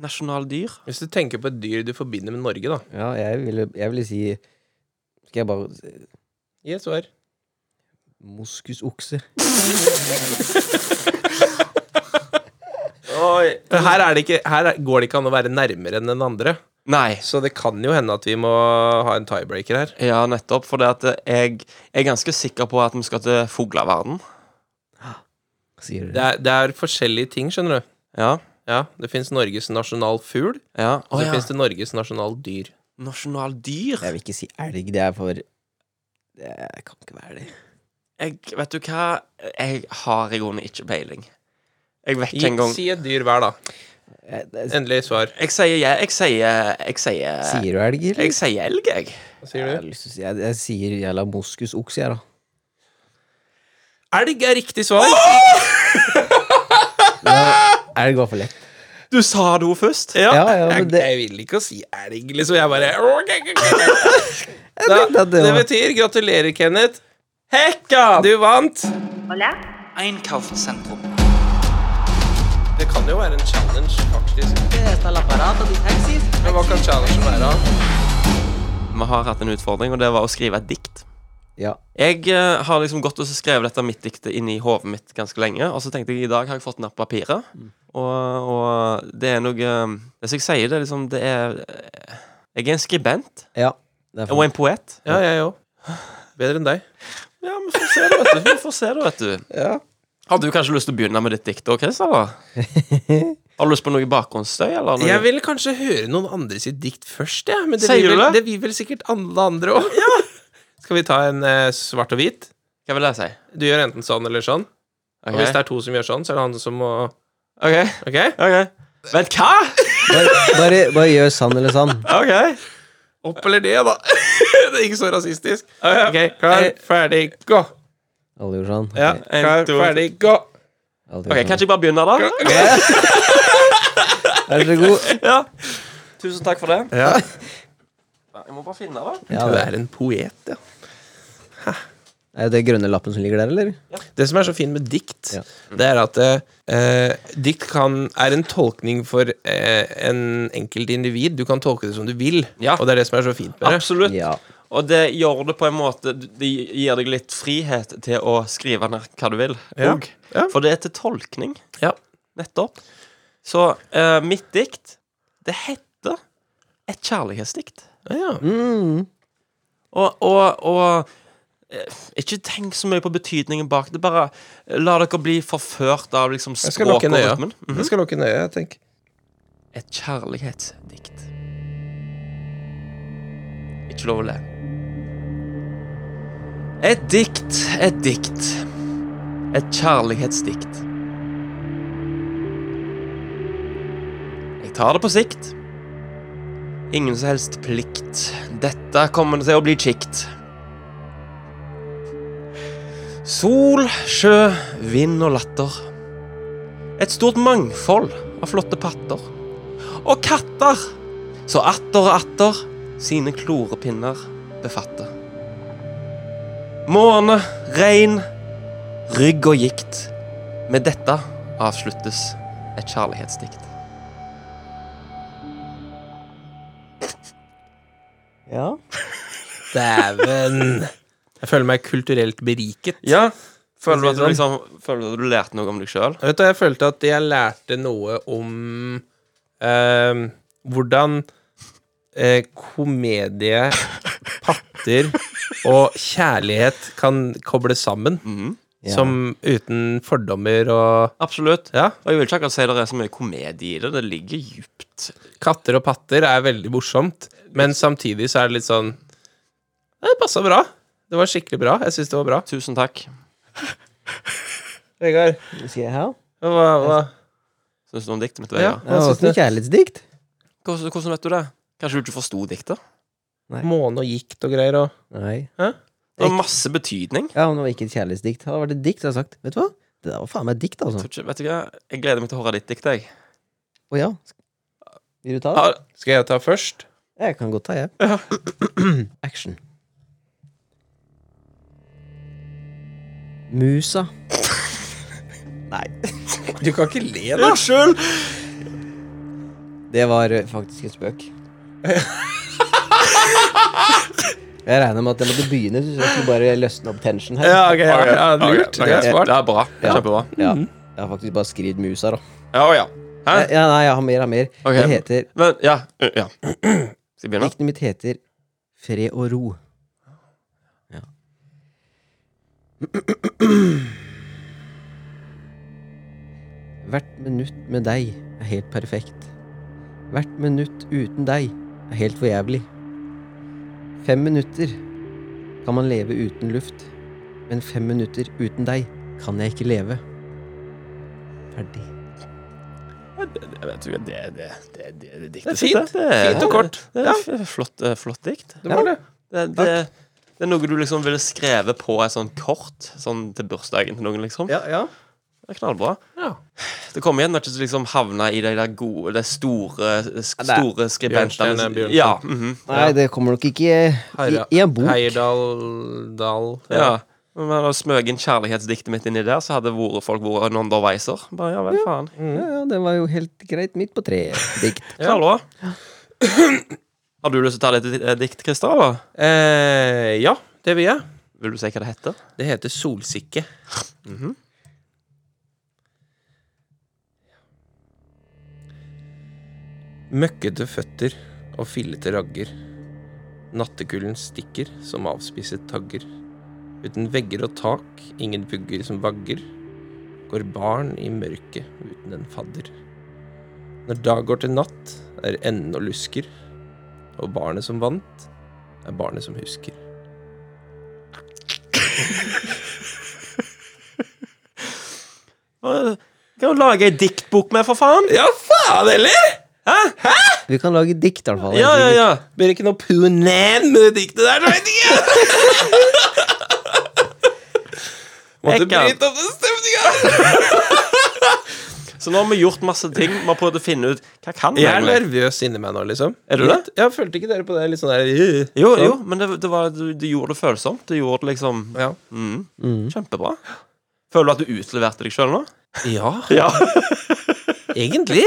Speaker 1: Nasjonaldyr.
Speaker 4: Hvis du tenker på et dyr du forbinder med Norge, da.
Speaker 3: Ja, jeg ville, jeg ville si Skal jeg bare si-
Speaker 4: Gi et svar.
Speaker 3: Moskusokse.
Speaker 1: Oi.
Speaker 4: Her, er det ikke, her er- går det ikke an å være nærmere enn den andre.
Speaker 1: Nei.
Speaker 4: Så det kan jo hende at vi må ha en tiebreaker her.
Speaker 1: Ja, nettopp. For det at jeg, jeg er ganske sikker på at vi skal til fugleverden.
Speaker 3: Sier
Speaker 4: Det
Speaker 3: du.
Speaker 4: er, det er forskjellige ting, skjønner du.
Speaker 1: Ja.
Speaker 4: Ja, Det fins Norges nasjonalfugl,
Speaker 1: Ja.
Speaker 4: og så
Speaker 1: Å ja.
Speaker 4: fins det Norges nasjonaldyr.
Speaker 1: Nasjonaldyr.
Speaker 3: Jeg vil ikke si elg. Det er for Det kan ikke være det.
Speaker 1: jeg, Vet du hva? Jeg har i grunnen ikke peiling. Jeg vet ikke
Speaker 4: Gi-
Speaker 1: engang
Speaker 4: Si et dyr hver, da.
Speaker 3: Jeg, det
Speaker 4: Endelig svar.
Speaker 1: Jeg sier jeg, jeg sier Jeg sier,
Speaker 3: sier du elg, eller?
Speaker 1: jeg sier elg, jeg.
Speaker 4: Hva
Speaker 3: Jeg,
Speaker 4: sier
Speaker 3: har
Speaker 4: du?
Speaker 3: lyst til å si, jeg, jeg sier jævla moskusokse, jeg, da.
Speaker 4: Elg er riktig svar.
Speaker 3: Elg var for lett.
Speaker 1: Du sa det jo først.
Speaker 3: Ja, ja, men
Speaker 4: Jeg,
Speaker 3: det,
Speaker 4: jeg vil ikke si elg, liksom. Jeg bare
Speaker 3: tenkte
Speaker 4: da,
Speaker 3: at
Speaker 4: Det
Speaker 3: det var-
Speaker 4: betyr gratulerer, Kenneth. Hekka! Du vant.
Speaker 6: Hola.
Speaker 7: Einkaufszentrum.
Speaker 4: Det kan jo være en challenge, faktisk. Men hva kan challengen være? da?
Speaker 1: Vi har hatt en utfordring, og det var å skrive et dikt.
Speaker 3: ja.
Speaker 1: Jeg eh, har liksom gått og så skrevet dette mitt diktet inn i hodet mitt ganske lenge. Og så tenkte jeg i dag har jeg fått den opp på papiret. Og, og det er noe eh, Det som jeg sier, det er liksom Det er eh, Jeg er en skribent.
Speaker 3: ja. Det er
Speaker 1: Og
Speaker 3: for,
Speaker 1: en poet.
Speaker 4: Ja, jeg òg. Bedre enn deg.
Speaker 1: Ja, vi får se det, vet du. Vi får se det, vet du. Har du kanskje lyst til å begynne med ditt dikt òg, Chris? Eller? Har du lyst på noe bakgrunnsstøy? Eller noe?
Speaker 4: Jeg vil kanskje høre noen andre sitt dikt først, jeg. Men det
Speaker 1: Sier
Speaker 4: vil,
Speaker 1: du
Speaker 4: vel,
Speaker 1: det?
Speaker 4: det vil vel sikkert alle andre òg. Skal vi ta en eh, svart og hvit?
Speaker 1: Hva vil jeg si?
Speaker 4: Du gjør enten sånn eller sånn.
Speaker 1: Ok.
Speaker 4: Og hvis det er to som gjør sånn, så er det han som må
Speaker 1: Ok,
Speaker 4: Ok?
Speaker 1: ok. Vent, hva?!
Speaker 3: Bare, bare, bare gjør sann eller sann.
Speaker 1: Ok,
Speaker 4: Opp eller ned, da. det er ikke så rasistisk. Ok, klar,
Speaker 1: Eh,
Speaker 4: ferdig, gå.
Speaker 3: Alle gjorde sånn.
Speaker 4: Ja,
Speaker 3: Ok,
Speaker 1: en,
Speaker 4: klar,
Speaker 1: to,
Speaker 4: ferdig, gå.
Speaker 3: alle gjorde
Speaker 1: Ok,
Speaker 3: sånn.
Speaker 1: Kan ikke jeg bare begynne, da?
Speaker 3: Vær så god.
Speaker 1: Ja. Tusen takk for det.
Speaker 4: Ja.
Speaker 1: Jeg må bare finne det.
Speaker 3: Ja,
Speaker 4: Du
Speaker 3: det.
Speaker 4: er en poet, ja.
Speaker 3: Er det grønne lappen som ligger der, eller?
Speaker 4: Det som er så fint med dikt,
Speaker 3: Ja.
Speaker 4: det er at eh, dikt kan, er en tolkning for eh, en enkelt individ. Du kan tolke det som du vil,
Speaker 1: Ja.
Speaker 4: og det er det som er så fint med det.
Speaker 1: Absolutt.
Speaker 3: Ja.
Speaker 1: Og det gjør det på en måte Det gir deg litt frihet til å skrive ned hva du vil.
Speaker 4: Ja.
Speaker 1: og.
Speaker 4: Ja.
Speaker 1: For det er til tolkning.
Speaker 4: Ja.
Speaker 1: Nettopp. Så eh, mitt dikt, det heter Et kjærlighetsdikt.
Speaker 4: Ja.
Speaker 3: Mm.
Speaker 1: Og, og, og eh, ikke tenk så mye på betydningen bak det. Bare la dere bli forført av liksom
Speaker 4: Jeg skal
Speaker 1: språket
Speaker 4: lukke
Speaker 1: og
Speaker 4: en øye.
Speaker 1: rytmen. Mhm.
Speaker 4: Jeg skal lukke en øye, jeg tenker.
Speaker 1: Et kjærlighetsdikt. Ikke lov å le. Et dikt, et dikt. Et kjærlighetsdikt. Jeg tar det på sikt. Ingen som helst plikt. Dette kommer til å bli kjikt. Sol, sjø, vind og latter. Et stort mangfold av flotte patter. Og katter, så atter og atter sine klorepinner befatter. Måne, regn, rygg og gikt. Med dette avsluttes et kjærlighetsdikt.
Speaker 3: ja.
Speaker 4: Dæven. Jeg føler meg kulturelt beriket.
Speaker 1: Ja, Føler du at du,
Speaker 4: Skal vi si
Speaker 1: liksom, føler du at du lærte noe om deg sjøl?
Speaker 4: Vet du, jeg følte at jeg lærte noe om ehm, hvordan eh, komedie, patter og kjærlighet kan kobles sammen.
Speaker 1: Mhm.
Speaker 3: Ja.
Speaker 4: Som uten fordommer og
Speaker 1: Absolutt.
Speaker 4: Ja.
Speaker 1: Og jeg vil ikke akkurat si det er så mye komedie i det. Det ligger djupt.
Speaker 4: Katter og patter er veldig morsomt, men samtidig så er det litt sånn Det passa bra. Det var skikkelig bra. Jeg syns det var bra.
Speaker 1: Tusen takk.
Speaker 4: Vegard,
Speaker 3: Sier jeg her?
Speaker 4: hva, hva?
Speaker 1: Syns du om diktet mitt?
Speaker 4: Ja.
Speaker 1: Vegard?
Speaker 3: Ja, Det var
Speaker 4: syns
Speaker 3: ikke noe kjærlighetsdikt.
Speaker 1: Hvordan, hvordan vet du det? Kanskje du ikke forsto diktet?
Speaker 4: Måne og gikt og greier og
Speaker 3: Nei.
Speaker 1: Det var masse betydning.
Speaker 3: Ja, men det var ikke et kjærlighetsdikt. Det hadde vært et dikt, hadde jeg sagt. Vet du hva? Det der var faen meg et dikt, altså.
Speaker 1: Tror ikke, vet du hva? Jeg gleder meg til å høre ditt dikt. jeg.
Speaker 3: Å ja. Vil du ta det?
Speaker 1: Har,
Speaker 4: Skal jeg ta først?
Speaker 3: Jeg kan godt ta, jeg. Action. Musa. Nei.
Speaker 4: Du kan ikke le, da.
Speaker 3: Det var eh, faktisk en spøk. Jeg regner med at jeg måtte begynne, så jeg skulle bare løsne opp tension her.
Speaker 4: Ja, ok, ja, ja, lurt. Det er
Speaker 1: Det
Speaker 4: smart.
Speaker 1: er bra.
Speaker 3: Ja.
Speaker 1: Kjempebra.
Speaker 3: Ja. Jeg har faktisk bare skrevet musa, da.
Speaker 1: Ja, ja. Hæ?
Speaker 3: Ja, nei, jeg har mer, jeg har mer.
Speaker 1: Ok.
Speaker 3: Det heter,
Speaker 1: Men, ja. ja. Skal vi begynne?
Speaker 3: Diktene mitt heter Fred og ro. Ja. Hvert minutt med deg er helt perfekt. Hvert minutt uten deg er helt for jævlig. Fem minutter kan man leve uten luft, men fem minutter uten deg kan jeg ikke leve. Ferdig.
Speaker 1: Jeg vet ikke, det, det, det, det, det
Speaker 4: Det er
Speaker 1: diktet
Speaker 4: fint.
Speaker 1: sitt, det. Det er-
Speaker 4: Fint og kort.
Speaker 1: Det er
Speaker 4: Ja.
Speaker 1: f- flott, eh, flott dikt.
Speaker 4: Det var det.
Speaker 1: Det, det, det er noe du liksom ville skrevet på et sånt kort sånn til bursdagen til noen, liksom.
Speaker 4: Ja, ja.
Speaker 1: Det er knallbra.
Speaker 4: Ja.
Speaker 1: Det kommer igjen at du liksom havner i de der gode, de store, sk-
Speaker 3: det er-
Speaker 1: store skribentene.
Speaker 4: Bjørnstjerne, Bjørnson.
Speaker 1: Ja. mhm.
Speaker 3: Nei, det kommer nok ikke i,
Speaker 4: Heira-
Speaker 3: i en bok.
Speaker 4: Heierdal Dal
Speaker 1: ja. Men hadde smøg inn kjærlighetsdiktet mitt inni der, så hadde vært- folk vært en underviser. Bare, ja vel, faen.
Speaker 3: Ja, ja, det var jo helt greit midt på treet. Dikt.
Speaker 1: Knallbra. Har du lyst til å ta litt eh, dikt, Christer? Eller?
Speaker 4: Eh, ja, det vil jeg.
Speaker 1: Vil du si hva det heter?
Speaker 4: Det heter Solsikke. Mhm. Møkkete føtter og fillete ragger. Nattekulden stikker som avspisset tagger. Uten vegger og tak, ingen vugger som vagger. går barn i mørket uten en fadder. Når dag går til natt, er enden og lusker, og barnet som vant, er barnet som husker.
Speaker 1: eh, Kan jo lage ei diktbok med, for faen!
Speaker 4: Ja, faen heller!
Speaker 3: Vi kan lage dikt, i hvert fall.
Speaker 4: Ja, ja, ja. Blir ikke noe punen med det diktet der, du vet ikke! Måtte
Speaker 1: Jeg kan.
Speaker 4: bryte opp den stemninga!
Speaker 1: Så nå har vi gjort masse ting. Vi har prøvd å finne ut hva kan vi
Speaker 4: Jeg er
Speaker 1: egentlig.
Speaker 4: nervøs inni meg nå, liksom.
Speaker 1: Er du det?
Speaker 4: Litt. Ja, følte ikke dere på det? Litt sånn der øh,
Speaker 1: Jo,
Speaker 4: sånn.
Speaker 1: jo, men det, det var, du, du gjorde det følsomt. Du gjorde det liksom
Speaker 4: Ja.
Speaker 1: mm, Kjempebra. Føler du at du utleverte deg sjøl nå?
Speaker 4: ja,
Speaker 1: Ja.
Speaker 4: egentlig.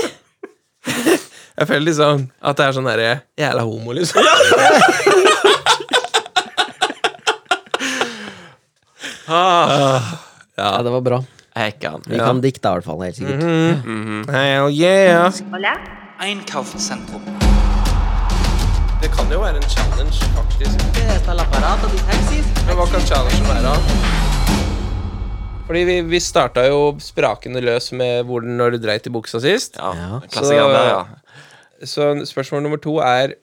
Speaker 4: Jeg føler liksom at det er sånn derre Jævla homo, liksom.
Speaker 3: Ja, det var bra.
Speaker 1: Jeg kan.
Speaker 3: Vi kan dikte, i hvert fall. Helt sikkert.
Speaker 4: Mhm. Hell yeah.
Speaker 6: Hola.
Speaker 7: Einkaufszentrum.
Speaker 4: Det kan jo være en challenge, faktisk. Men hva kan challengen være? Fordi vi, vi starta jo sprakende løs med hvordan når du dreit i buksa sist.
Speaker 1: Ja.
Speaker 3: Ja.
Speaker 1: Klassikeren der, ja.
Speaker 4: Så spørsmål nummer to er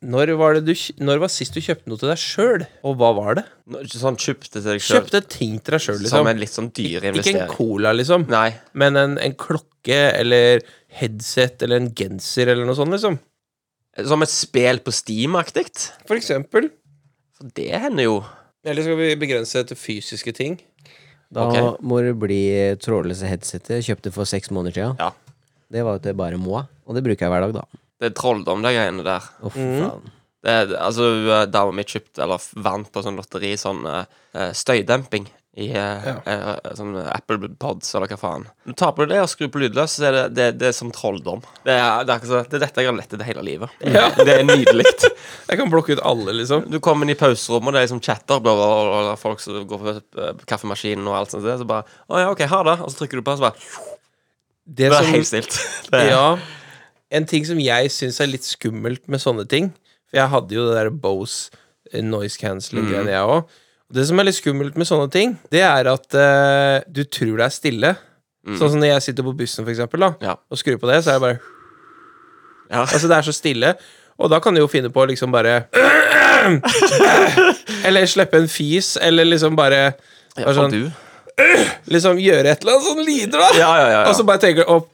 Speaker 4: når var, det du, kj- når var sist du kjøpte noe til deg sjøl, og hva var det?
Speaker 1: Nå, ikke Sånn kjøpte til deg sjøl.
Speaker 4: Kjøpte ting til deg sjøl,
Speaker 1: Som
Speaker 4: liksom.
Speaker 1: en litt sånn dyre
Speaker 4: Ikke en
Speaker 1: investering.
Speaker 4: cola, liksom,
Speaker 1: Nei.
Speaker 4: men en, en klokke eller headset eller en genser eller noe sånt, liksom.
Speaker 1: Som et spel på Steam-aktig.
Speaker 4: For eksempel.
Speaker 1: For det hender jo.
Speaker 4: Eller skal vi begrense det til fysiske ting?
Speaker 3: Da
Speaker 1: Ok.
Speaker 3: må det bli trådløse headsetet. jeg Kjøpte for seks måneder siden.
Speaker 1: Ja.
Speaker 3: Det var jo til bare moi, og det bruker jeg hver dag, da.
Speaker 1: Det er trolldom, de greiene der.
Speaker 3: Å, fy
Speaker 4: Mhm.
Speaker 3: faen.
Speaker 1: Det, det- altså, eh, Dama mi kjøpte, eller f- vant på sånn lotteri, sånn eh, eh, støydemping i eh, eh, sånn eh, Apple Pods, eller hva faen. Du tar på deg det og skrur på lydløs, så er det, det, det er som trolldom. Det er, det, er, akkurat så- det er dette jeg har lett etter hele livet. Det er nydelig.
Speaker 4: Jeg kan blokke ut alle, liksom.
Speaker 1: Du kommer inn i pauserommet, og det er liksom chatter, bla, bla, bla, bla, bla, folk som går på eh, kaffemaskinen og alt sånt, der, så bare Å ja, OK, ha det. Og så trykker du på, og så bare Det
Speaker 4: Det
Speaker 1: er
Speaker 4: som-
Speaker 1: helt stilt. Det er,
Speaker 4: Ja. En ting som jeg syns er litt skummelt med sånne ting For jeg hadde jo det der Bose eh, noise
Speaker 1: Mm.
Speaker 4: cancelling-greiene, jeg òg. Det som er litt skummelt med sånne ting, det er at eh, du tror det er stille. Sånn som når jeg sitter på bussen, for eksempel, da,
Speaker 1: Mm. Ja.
Speaker 4: og skrur på det, så er det bare
Speaker 1: Ja.
Speaker 4: Altså, det er så stille. Og da kan du jo finne på å liksom bare Eller slippe en fis, eller liksom bare
Speaker 1: Ja,
Speaker 4: bare
Speaker 1: for
Speaker 4: sånn,
Speaker 1: du.
Speaker 4: liksom gjøre et eller annet sånn lyder, da.
Speaker 1: Ja, ja, ja.
Speaker 4: Og så bare tenker du opp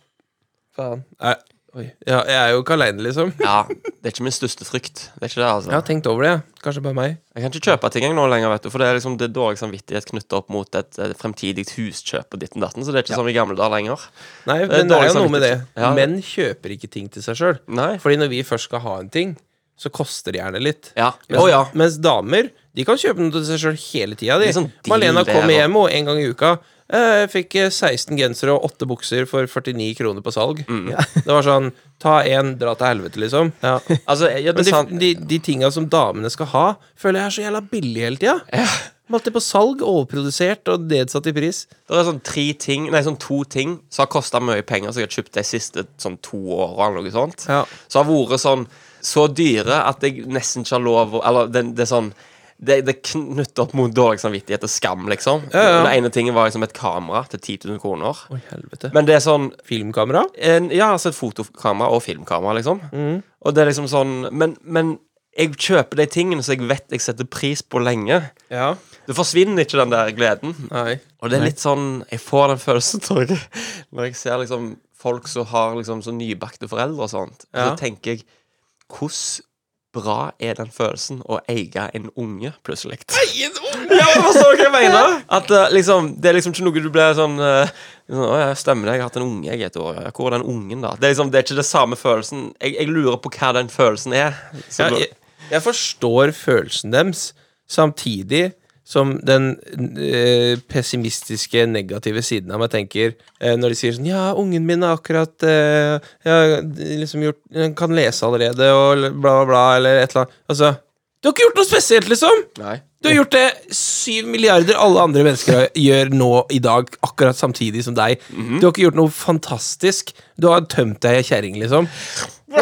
Speaker 4: Faen. Jeg, oi, ja, jeg er jo ikke aleine, liksom.
Speaker 1: Ja, det er ikke min største frykt. Det er ikke det, altså.
Speaker 4: Jeg har tenkt over det. jeg. Kanskje bare meg.
Speaker 1: Jeg kan ikke kjøpe ting jeg nå lenger, vet du, for det er liksom det er dårlig samvittighet knytta opp mot et, eh, fremtidig huskjøp og ditten datten, så det er ikke som i gamle dager lenger.
Speaker 4: Nei,
Speaker 1: er
Speaker 4: men det er
Speaker 1: dårlig
Speaker 4: jo noe med det.
Speaker 1: samvittighet. Ja.
Speaker 4: Menn kjøper ikke ting til seg sjøl.
Speaker 1: Nei.
Speaker 4: Fordi når vi først skal ha en ting, så koster det gjerne litt.
Speaker 1: Ja.
Speaker 4: Mens,
Speaker 1: Å, ja.
Speaker 4: mens damer de kan kjøpe noe til seg sjøl hele tida. De.
Speaker 1: Det er sånn deal
Speaker 4: Malena
Speaker 1: det,
Speaker 4: kommer
Speaker 1: da.
Speaker 4: hjem og en gang i uka eh, jeg fikk eh, 16 gensere og 8 bukser for 49 kroner på salg. Ja. Det var sånn Ta én, dra til helvete, liksom. Ja.
Speaker 1: Altså, Mm. ja,
Speaker 4: Men
Speaker 1: det er sant.
Speaker 4: de, de, de tinga som damene skal ha, føler jeg er så jævla billig hele tida. De er Alltid på salg, overprodusert og nedsatt i pris.
Speaker 1: Det er sånn tre ting, nei, sånn to ting som har kosta mye penger, som jeg har kjøpt de siste sånn to åra, eller noe sånt.
Speaker 4: Ja.
Speaker 1: Som har vært sånn så dyre at jeg nesten ikke har lov å Eller det, det er sånn det, det knytter opp mot dårlig samvittighet og skam, liksom.
Speaker 4: ja.
Speaker 1: Den ene tingen var liksom et kamera til 10 000 kroner.
Speaker 4: Oi, helvete.
Speaker 1: Men det er sånn
Speaker 4: Filmkamera?
Speaker 1: en, Ja, altså et fotokamera og filmkamera, liksom. Og det er liksom sånn Men, men jeg kjøper de tingene som jeg vet jeg setter pris på lenge.
Speaker 4: Ja.
Speaker 1: Det forsvinner ikke, den der gleden.
Speaker 4: Nei.
Speaker 1: Og det er litt sånn Jeg får den følelsen, tror jeg, når jeg ser liksom folk som har liksom så nybakte foreldre og sånt.
Speaker 4: Ja.
Speaker 1: Så tenker jeg Hvordan bra er den følelsen å eie en unge, plutselig? Eie en unge? Ja, men forstår du hva jeg mener? At eh, liksom Det er liksom ikke noe du blir sånn eh, sånn, Å ja, stemmer det, jeg har hatt en unge jeg i et år. Ja, Hvor er den ungen, da? Det er liksom Det er ikke det samme følelsen. Jeg, jeg lurer på hva den følelsen er. Så
Speaker 4: Ja,
Speaker 1: da-
Speaker 4: jeg, jeg forstår følelsen deres, samtidig som den eh, pessimistiske, negative siden av meg tenker eh, når de sier sånn Ja, ungen min er akkurat eh, ja, liksom gjort, den Kan lese allerede, og bla, bla, bla, eller et eller annet. Altså Du har ikke gjort noe spesielt, liksom!
Speaker 1: Nei.
Speaker 4: Du har gjort det syv milliarder alle andre mennesker gjør nå i dag, akkurat samtidig som deg. Du har ikke gjort noe fantastisk. Du har tømt deg i ei kjerring, liksom. ja,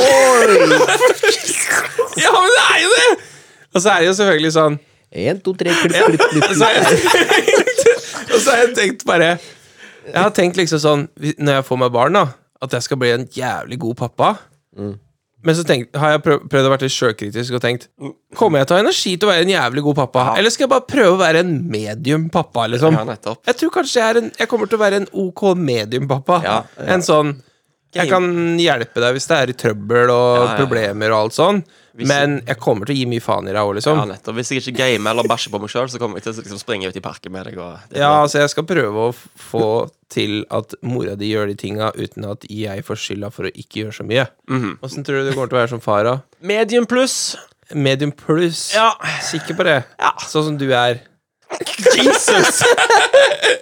Speaker 4: men det er jo det! Og så er det jo selvfølgelig sånn
Speaker 3: En, to, tre, klipp, klipp, klipp.
Speaker 4: Og så har jeg tenkt bare Jeg har tenkt liksom sånn hvis- Når jeg får meg barn, da at jeg skal bli en jævlig god pappa.
Speaker 3: Mm.
Speaker 4: Men så tenk, har jeg prøv, prøvd å være litt sjølkritisk og tenkt Kommer jeg til å ha energi til å være en jævlig god pappa, eller skal jeg bare prøve å være en medium pappa? liksom?
Speaker 1: Ja, nettopp.
Speaker 4: Jeg tror kanskje jeg, er en, jeg kommer til å være en OK mediumpappa.
Speaker 1: Ja,
Speaker 4: En sånn Jeg kan hjelpe deg hvis det er i trøbbel
Speaker 1: Ja,
Speaker 4: og
Speaker 1: ja, ja.
Speaker 4: problemer og alt sånn,
Speaker 1: Hvis-
Speaker 4: men jeg kommer til å gi mye faen i deg òg, liksom.
Speaker 1: Ja, nettopp. Hvis jeg ikke gamer eller bæsjer på meg sjøl, så kommer jeg til å liksom springe ut i parken med deg. Og det,
Speaker 4: Ja, altså, jeg skal prøve å f- få til at mora di gjør de tinga uten at jeg får skylda for å ikke gjøre så mye.
Speaker 1: Mhm.
Speaker 4: Åssen tror du det kommer til å være som far, da?
Speaker 1: Medium pluss.
Speaker 4: Medium pluss.
Speaker 1: Ja.
Speaker 4: Sikker på det? Sånn som du er.
Speaker 1: Jesus!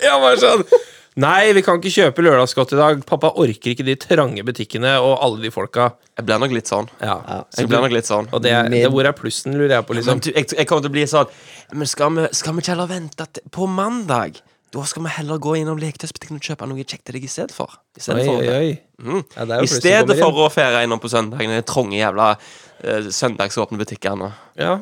Speaker 4: Jeg var sånn Nei, vi kan ikke kjøpe lørdagsgodt i dag. Pappa orker ikke de trange butikkene og alle de folka.
Speaker 1: Jeg blir nok litt sånn.
Speaker 4: Ja.
Speaker 1: Jeg blir nok litt sånn.
Speaker 4: Og det er,
Speaker 3: Med-
Speaker 4: det, hvor er plussen, lurer jeg på,
Speaker 1: Men
Speaker 4: liksom.
Speaker 1: du, jeg, jeg kommer til å bli sånn Men skal vi, skal vi ikke heller vente til, på mandag? Da skal vi heller gå innom leketøysbutikken og kjøpe noe kjekt til deg i stedet for. I stedet
Speaker 4: Oi,
Speaker 1: for,
Speaker 4: oi, oi.
Speaker 1: Mhm.
Speaker 4: Ja, det er
Speaker 1: I
Speaker 4: jo plussen
Speaker 1: stedet
Speaker 4: kommer inn.
Speaker 1: for å feire innom på søndagen i de trange jævla eh, søndagsåpne butikkene.
Speaker 4: Ja.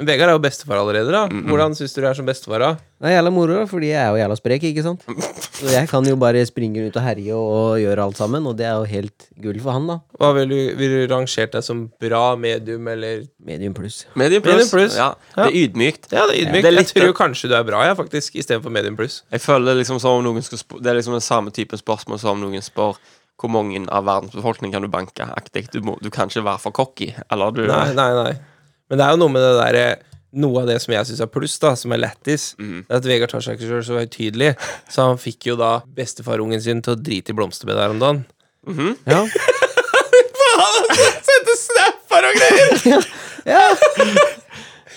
Speaker 4: Men Vegard er jo bestefar allerede, da. Hvordan syns du du er som bestefar, da?
Speaker 3: Det er jævla moro, da, fordi jeg er jo jævla sprek, ikke sant? Og jeg kan jo bare springe rundt og herje og gjøre alt sammen, og det er jo helt gull for han, da.
Speaker 4: Hva vil du, vil du rangert deg som bra, medium eller
Speaker 3: Medium pluss.
Speaker 1: Medium
Speaker 4: Medium pluss.
Speaker 1: Ja,
Speaker 4: Ja.
Speaker 1: det er ydmykt.
Speaker 4: Ja, det er ydmykt.
Speaker 1: Det er litt-
Speaker 4: jeg tror kanskje du er bra, jeg, faktisk, istedenfor medium pluss.
Speaker 1: Jeg føler liksom som om noen skal sp- Det er liksom den samme typen spørsmål som om noen spør hvor mange av verdens befolkning kan du banke? Aktig. Du, må, du kan ikke være for cocky. Eller du
Speaker 4: Nei, nei, nei. Men det er jo noe med det derre noe av det som jeg syns er pluss, da, som er lættis, det er at Vegard tar seg ikke selv så høytidelig. Så han fikk jo da bestefarungen sin til å drite i blomsterbedet her om dagen.
Speaker 3: Ja.
Speaker 4: Sendte snapper og greier!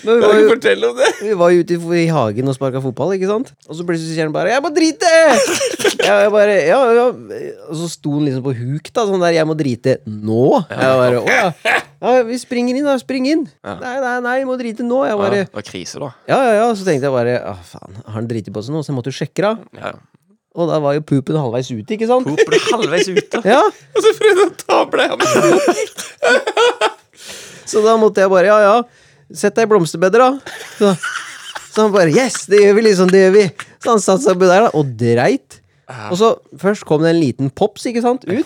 Speaker 3: Men vi
Speaker 4: Kan
Speaker 3: var
Speaker 4: du
Speaker 3: jo,
Speaker 4: fortelle om det?
Speaker 3: vi var jo ute i, i hagen og sparka fotball, ikke sant? Og så plutselig sier han bare 'jeg må drite'! Ja, jeg bare, ja, ja. Og så sto han liksom på huk, da, sånn der 'jeg må drite nå'. Jeg bare 'å ja'. ja. Vi springer inn, da. Spring inn. Nei, nei, nei, vi må drite nå. Jeg
Speaker 1: ja,
Speaker 3: bare
Speaker 1: Det var krise, da.
Speaker 3: Ja, ja, ja. Så tenkte jeg bare Å, faen, har han driti på seg nå? Så jeg måtte jo sjekke det av.
Speaker 1: Ja. ja.
Speaker 3: Og da var jo pupen halvveis ute, ikke sant?
Speaker 1: Poop ble halvveis ute.
Speaker 3: Ja,
Speaker 4: Og så prøvde han å ta bleia med
Speaker 3: Så da måtte jeg bare Ja, ja. Sett deg i blomsterbedet, da. Så, så han bare Yes, det gjør vi, liksom. Det gjør vi. Så han satte seg oppi der da, og dreit. Og så først kom det en liten pops, ikke sant, ut.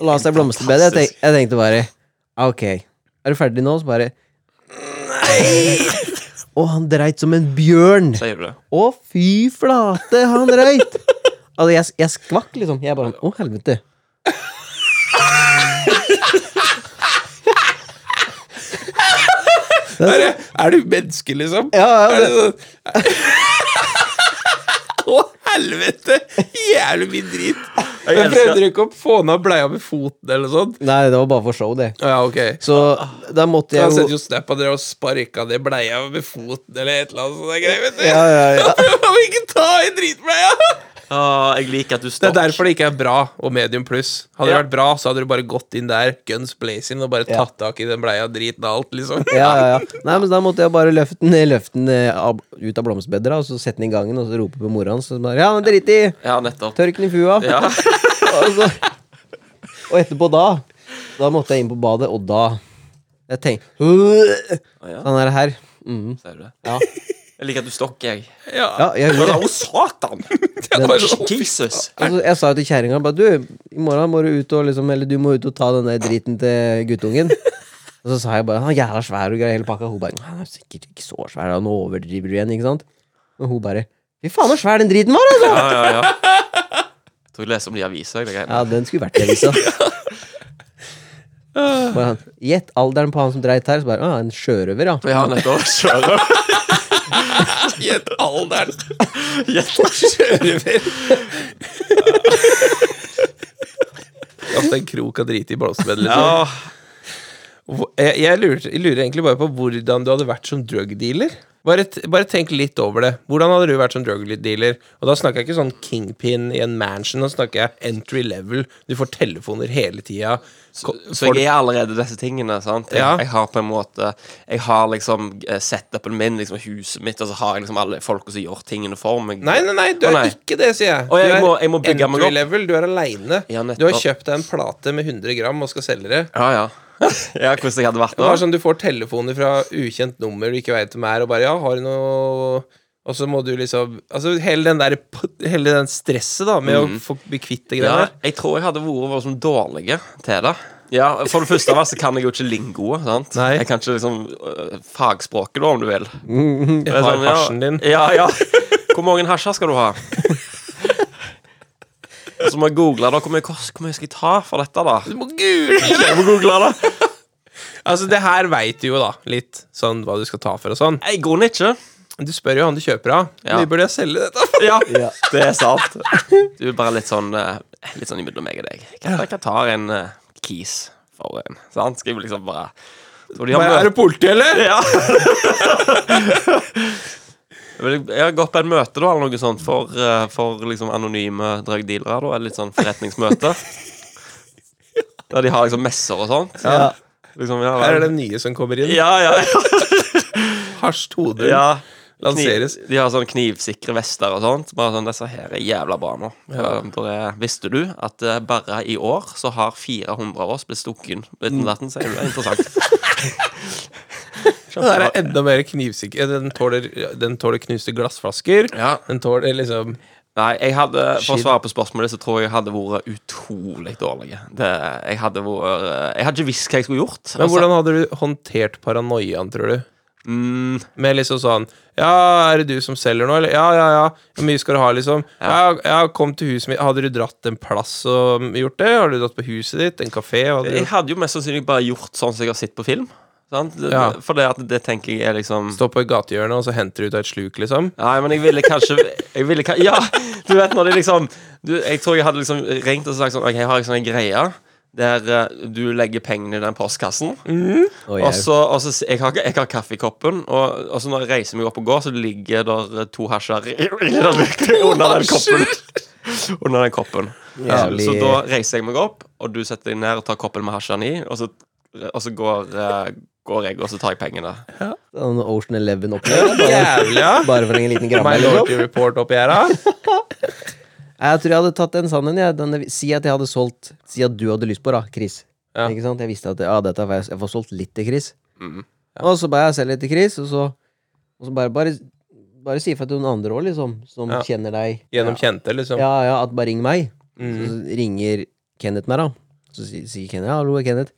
Speaker 3: Og la seg i blomsterbedet. Jeg, tenk, jeg tenkte bare Ok, er du ferdig nå? Så bare Nei! Og han dreit som en bjørn.
Speaker 1: Sier du det?
Speaker 3: Å, fy flate, han røyt! Altså, jeg, jeg skvakk, liksom. Jeg bare Å, helvete.
Speaker 4: Er, det- er du menneske, liksom?
Speaker 3: Ja, ja,
Speaker 4: Er det
Speaker 3: det,
Speaker 4: sånn Å, helvete! Jævlig mye drit. Men
Speaker 1: elsker-
Speaker 4: prøvde du ikke å få ned bleia med foten eller noe sånt?
Speaker 3: nei, det var bare for show, det.
Speaker 4: Å, Ja, ok.
Speaker 3: Så da måtte
Speaker 4: Han
Speaker 3: jeg
Speaker 4: sendte
Speaker 3: jo
Speaker 4: jo snap av dere og sparka ned bleia med foten eller et eller annet sånt. greier, vet du.
Speaker 3: Ja, ja, ja.
Speaker 4: Han vil ikke ta i dritbleia!
Speaker 1: Å, jeg liker at du
Speaker 4: Det er
Speaker 1: stokk.
Speaker 4: derfor det ikke er bra og medium pluss. Hadde
Speaker 1: Ja.
Speaker 4: det vært bra, så hadde du bare gått inn der, guns blazing, og bare
Speaker 3: Ja.
Speaker 4: tatt tak i den bleia, driten og alt, liksom.
Speaker 3: Ja, ja, ja. Nei, men da måtte jeg bare løfte den, løfte den eh, av, ut av blomsterbedet, da, og så sette den i gangen, og så rope på mora hans. og så bare, Ja, men drit i!
Speaker 1: Ja, nettopp.
Speaker 3: Tørk den i fua.
Speaker 1: Ja.
Speaker 3: Og, så, og etterpå da Da måtte jeg inn på badet, og da Jeg tenkte
Speaker 1: ja.
Speaker 3: Sånn er det her. Mm,
Speaker 1: Sier du det?
Speaker 3: ja.
Speaker 1: Jeg liker at du stokker, jeg.
Speaker 3: ja, jeg gjorde det.
Speaker 1: Å, satan!
Speaker 4: Det var sånn,
Speaker 1: Jesus!
Speaker 3: Altså, jeg sa jo til kjerringa bare Du, i morgen må du ut og liksom Eller du må ut og ta den der driten til guttungen. Og så sa jeg bare Han er jævla svær og greier hele pakka. Hun bare Han er sikkert ikke så svær, han overdriver du igjen, ikke sant? Og hun bare Fy faen, så svær den driten var, altså!
Speaker 1: Ja, ja, ja. Tror jeg leser om de aviser. Jeg, det
Speaker 3: Ja,
Speaker 1: greiene.
Speaker 3: den skulle vært i avisa. Bare han, Gjett alderen på han som dreit her. Så bare Å, en sjørøver, ja.
Speaker 1: ja, nettopp. Kjører.
Speaker 4: Gjett alderen! Sjørøver. Kaste en krok av drit i blomsterbedet, liksom.
Speaker 1: Ja,
Speaker 4: Hvor- Jeg, jeg, lurer, jeg lurer egentlig bare på hvordan du hadde vært som drugdealer. Bare, t- bare tenk litt over det. Hvordan hadde du vært som drugdealer? Og da snakker jeg ikke sånn kingpin i en mansion, nå snakker jeg entry level. Du får telefoner hele tida. Så,
Speaker 1: Så jeg er allerede disse tingene. sant? Jeg,
Speaker 4: Ja.
Speaker 1: jeg har på en måte Jeg har liksom eh, setupen min, liksom huset mitt, og så har jeg liksom alle folka som gjør tingene for meg.
Speaker 4: Nei, nei, nei, du
Speaker 1: Å,
Speaker 4: er
Speaker 1: nei.
Speaker 4: ikke det, sier jeg.
Speaker 1: Å, jeg
Speaker 4: du er
Speaker 1: må- jeg må bygge meg
Speaker 4: entry
Speaker 1: opp.
Speaker 4: level, du er aleine.
Speaker 1: Ja, nettopp.
Speaker 4: du har kjøpt deg en plate med 100 gram og skal selge det.
Speaker 1: Ja, ja. ja, hvordan jeg hadde vært
Speaker 4: Det
Speaker 1: da?
Speaker 4: var sånn Du får telefoner fra ukjent nummer du ikke veit hvem er, og bare 'ja, har du noe Og så må du liksom Altså hele den der Hele den stresset da med å få bli kvitt det
Speaker 1: Mhm. Ja,
Speaker 4: greiene der.
Speaker 1: jeg tror jeg hadde vært voldsomt dårlig til det. Ja, For det første av alt så kan jeg jo ikke lingoet. sant?
Speaker 4: Nei.
Speaker 1: Jeg kan ikke liksom øh, fagspråket, da, om du vil.
Speaker 4: Jeg har
Speaker 1: Sånn, ja,
Speaker 4: hasjen din.
Speaker 1: Ja, ja. Hvor mange hasjer skal du ha? Så må jeg google da, hvor mye, kost, hvor mye skal jeg ta for dette, da?
Speaker 4: Du må gule!
Speaker 1: Jeg må google det.
Speaker 4: Altså, det her veit du jo, da. Litt sånn hva du skal ta for og sånn.
Speaker 1: Jeg går ikke.
Speaker 4: Du spør jo han du kjøper av. Hvor
Speaker 1: Ja.
Speaker 4: mye burde jeg selge dette for?
Speaker 1: Ja, det er sant. Du er bare litt sånn eh, Litt sånn imellom meg og deg. Kanskje jeg kan ta en eh, kis for en. Sant? Skal jeg liksom bare Så de har
Speaker 4: Bare,
Speaker 1: møte-
Speaker 4: er det politi, eller?
Speaker 1: Ja. Jeg vil- jeg har gått på en møte da, eller noe sånt for, eh, for liksom anonyme drugdealere. da, et Litt sånn forretningsmøte. Der de har liksom messer og sånt.
Speaker 4: Ja.
Speaker 1: Liksom, ja,
Speaker 4: Her er det nye som kommer inn.
Speaker 1: ja, ja,
Speaker 4: Hasj
Speaker 1: ja.
Speaker 4: Todum
Speaker 1: ja.
Speaker 4: lanseres.
Speaker 1: Kniv, de har sånn knivsikre vester og sånt. Bare sånn, Disse her er jævla bra nå. Eh, det er- Visste du at eh, bare i år så har 400 av oss blitt stukket
Speaker 4: Mm.
Speaker 1: uten natten? Så er det interessant.
Speaker 4: Den her er enda mer knivsikker. Den tåler, den tåler knuste glassflasker.
Speaker 1: Ja.
Speaker 4: Den tåler liksom
Speaker 1: Nei, jeg hadde, for å
Speaker 4: Shit.
Speaker 1: svare på spørsmålet, så tror jeg jeg hadde vært utrolig dårlig. Det, jeg hadde vært eh, Jeg hadde ikke visst hva jeg skulle gjort. Altså,
Speaker 4: Men hvordan hadde du håndtert paranoiaen, tror du?
Speaker 1: mm,
Speaker 4: Med liksom sånn Ja, er det du som selger nå, eller? Ja, ja, ja. Hvor mye skal du ha, liksom? Ja, ja kom til huset mitt. Hadde du dratt en plass og gjort det? Har du dratt på huset ditt? En kafé? Hva Hadde du
Speaker 1: Jeg
Speaker 4: gjort?
Speaker 1: hadde jo mest sannsynlig bare gjort sånn som jeg har sett på film. Sant?
Speaker 4: Ja.
Speaker 1: For det, at det tenker jeg er liksom
Speaker 4: Stå på et gatehjørne, og så henter du ut av et sluk, liksom?
Speaker 1: Nei, men jeg ville kanskje jeg ville, ka- Ja, du vet når det liksom du, Jeg tror jeg hadde liksom ringt og sagt sånn OK, jeg har liksom en greie der eh, du legger pengene i den postkassen.
Speaker 3: Og
Speaker 1: Og
Speaker 3: jeg,
Speaker 1: så, og så s- jeg, har, jeg har kaffe i koppen, og, og så når jeg reiser meg opp og går, så ligger der eh, to hasjer under den koppen. Under den koppen. Ja,
Speaker 3: Jævlig-
Speaker 1: så da reiser jeg meg opp, og du setter deg ned og tar koppen med hasjene i, og så, og så går, eh, går jeg, og så tar jeg pengene.
Speaker 3: Sånn Ocean Eleven-opplegg. Bare,
Speaker 4: Jævlig, ja!
Speaker 3: bare for en liten gramme.
Speaker 4: My
Speaker 3: liksom.
Speaker 4: Lordy Report oppi her, da.
Speaker 3: Nei, Jeg tror jeg hadde tatt en sann en. jeg. Den- Si at jeg hadde solgt Si at du hadde lyst på, da, Chris.
Speaker 4: Ja.
Speaker 3: Ikke sant? Jeg visste at ja, dette får jeg, jeg får solgt litt til Chris.
Speaker 1: Mhm.
Speaker 3: Og så ba jeg selv litt til Chris, og så, og så bare, bare, bare si ifra til noen andre òg, liksom, som
Speaker 4: Ja.
Speaker 3: kjenner deg.
Speaker 4: Gjennom kjente, liksom.
Speaker 3: Ja, ja, at bare ring meg.
Speaker 4: Mm.
Speaker 3: Så ringer Kenneth meg, da. Så si- sier Kenneth ja, hallo, det er Kenneth.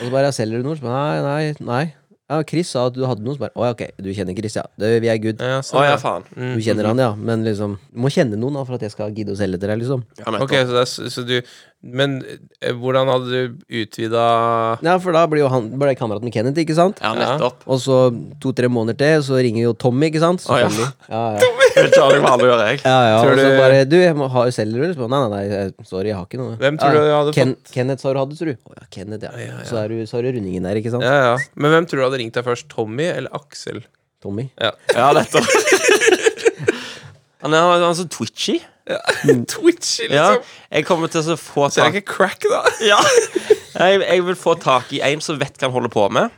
Speaker 3: Og så bare jeg selger du noe? Så bare, nei, nei, nei. Ja, Chris sa at du hadde noe. Så bare å ja, ok, du kjenner Chris, ja. Det, vi er good.
Speaker 4: Ja,
Speaker 1: Å
Speaker 4: sånn,
Speaker 1: ja,
Speaker 4: ja.
Speaker 1: faen.
Speaker 4: Mm.
Speaker 3: Du kjenner han, ja. Men liksom, du må kjenne noen da, for at jeg skal gidde å selge til deg, liksom.
Speaker 1: Ja, nettopp.
Speaker 4: Ok, så, det er, s- så du Men eh, hvordan hadde du utvida
Speaker 3: Ja, for da blir jo han ble jeg kamerat med Kenneth, ikke sant?
Speaker 1: Ja, nettopp.
Speaker 3: Og så to-tre måneder til, så ringer jo Tommy, ikke sant?
Speaker 1: Å, ja.
Speaker 3: Selvfølgelig. Ja, ja.
Speaker 1: Det tar jeg vanlig å gjøre, jeg.
Speaker 3: ja, ja.
Speaker 4: Tror
Speaker 3: Og så
Speaker 4: du-
Speaker 3: bare Du, jeg må, har, selger du? eller? Så bare, Nei, nei, nei, jeg- sorry, jeg har ikke noe.
Speaker 4: Hvem tror
Speaker 3: Ja,
Speaker 4: du jeg hadde
Speaker 3: Ken,
Speaker 4: fått?
Speaker 3: Kenneth sa du hadde, tror du? Å ja, Kenneth, ja. Så, er du, så er du rundingen der, ikke sant?
Speaker 4: Ja, ja. Men hvem tror du hadde ringt deg først? Tommy eller Aksel?
Speaker 3: Tommy.
Speaker 4: Ja.
Speaker 1: Ja, nettopp. Han er, han er så twitchy.
Speaker 4: Twitchy,
Speaker 1: Ja,
Speaker 4: liksom.
Speaker 1: jeg kommer til å få
Speaker 4: Så er
Speaker 1: tak
Speaker 4: det ikke crack, da?
Speaker 1: Ja. Jeg, jeg vil få tak i en som vet hva han holder på med.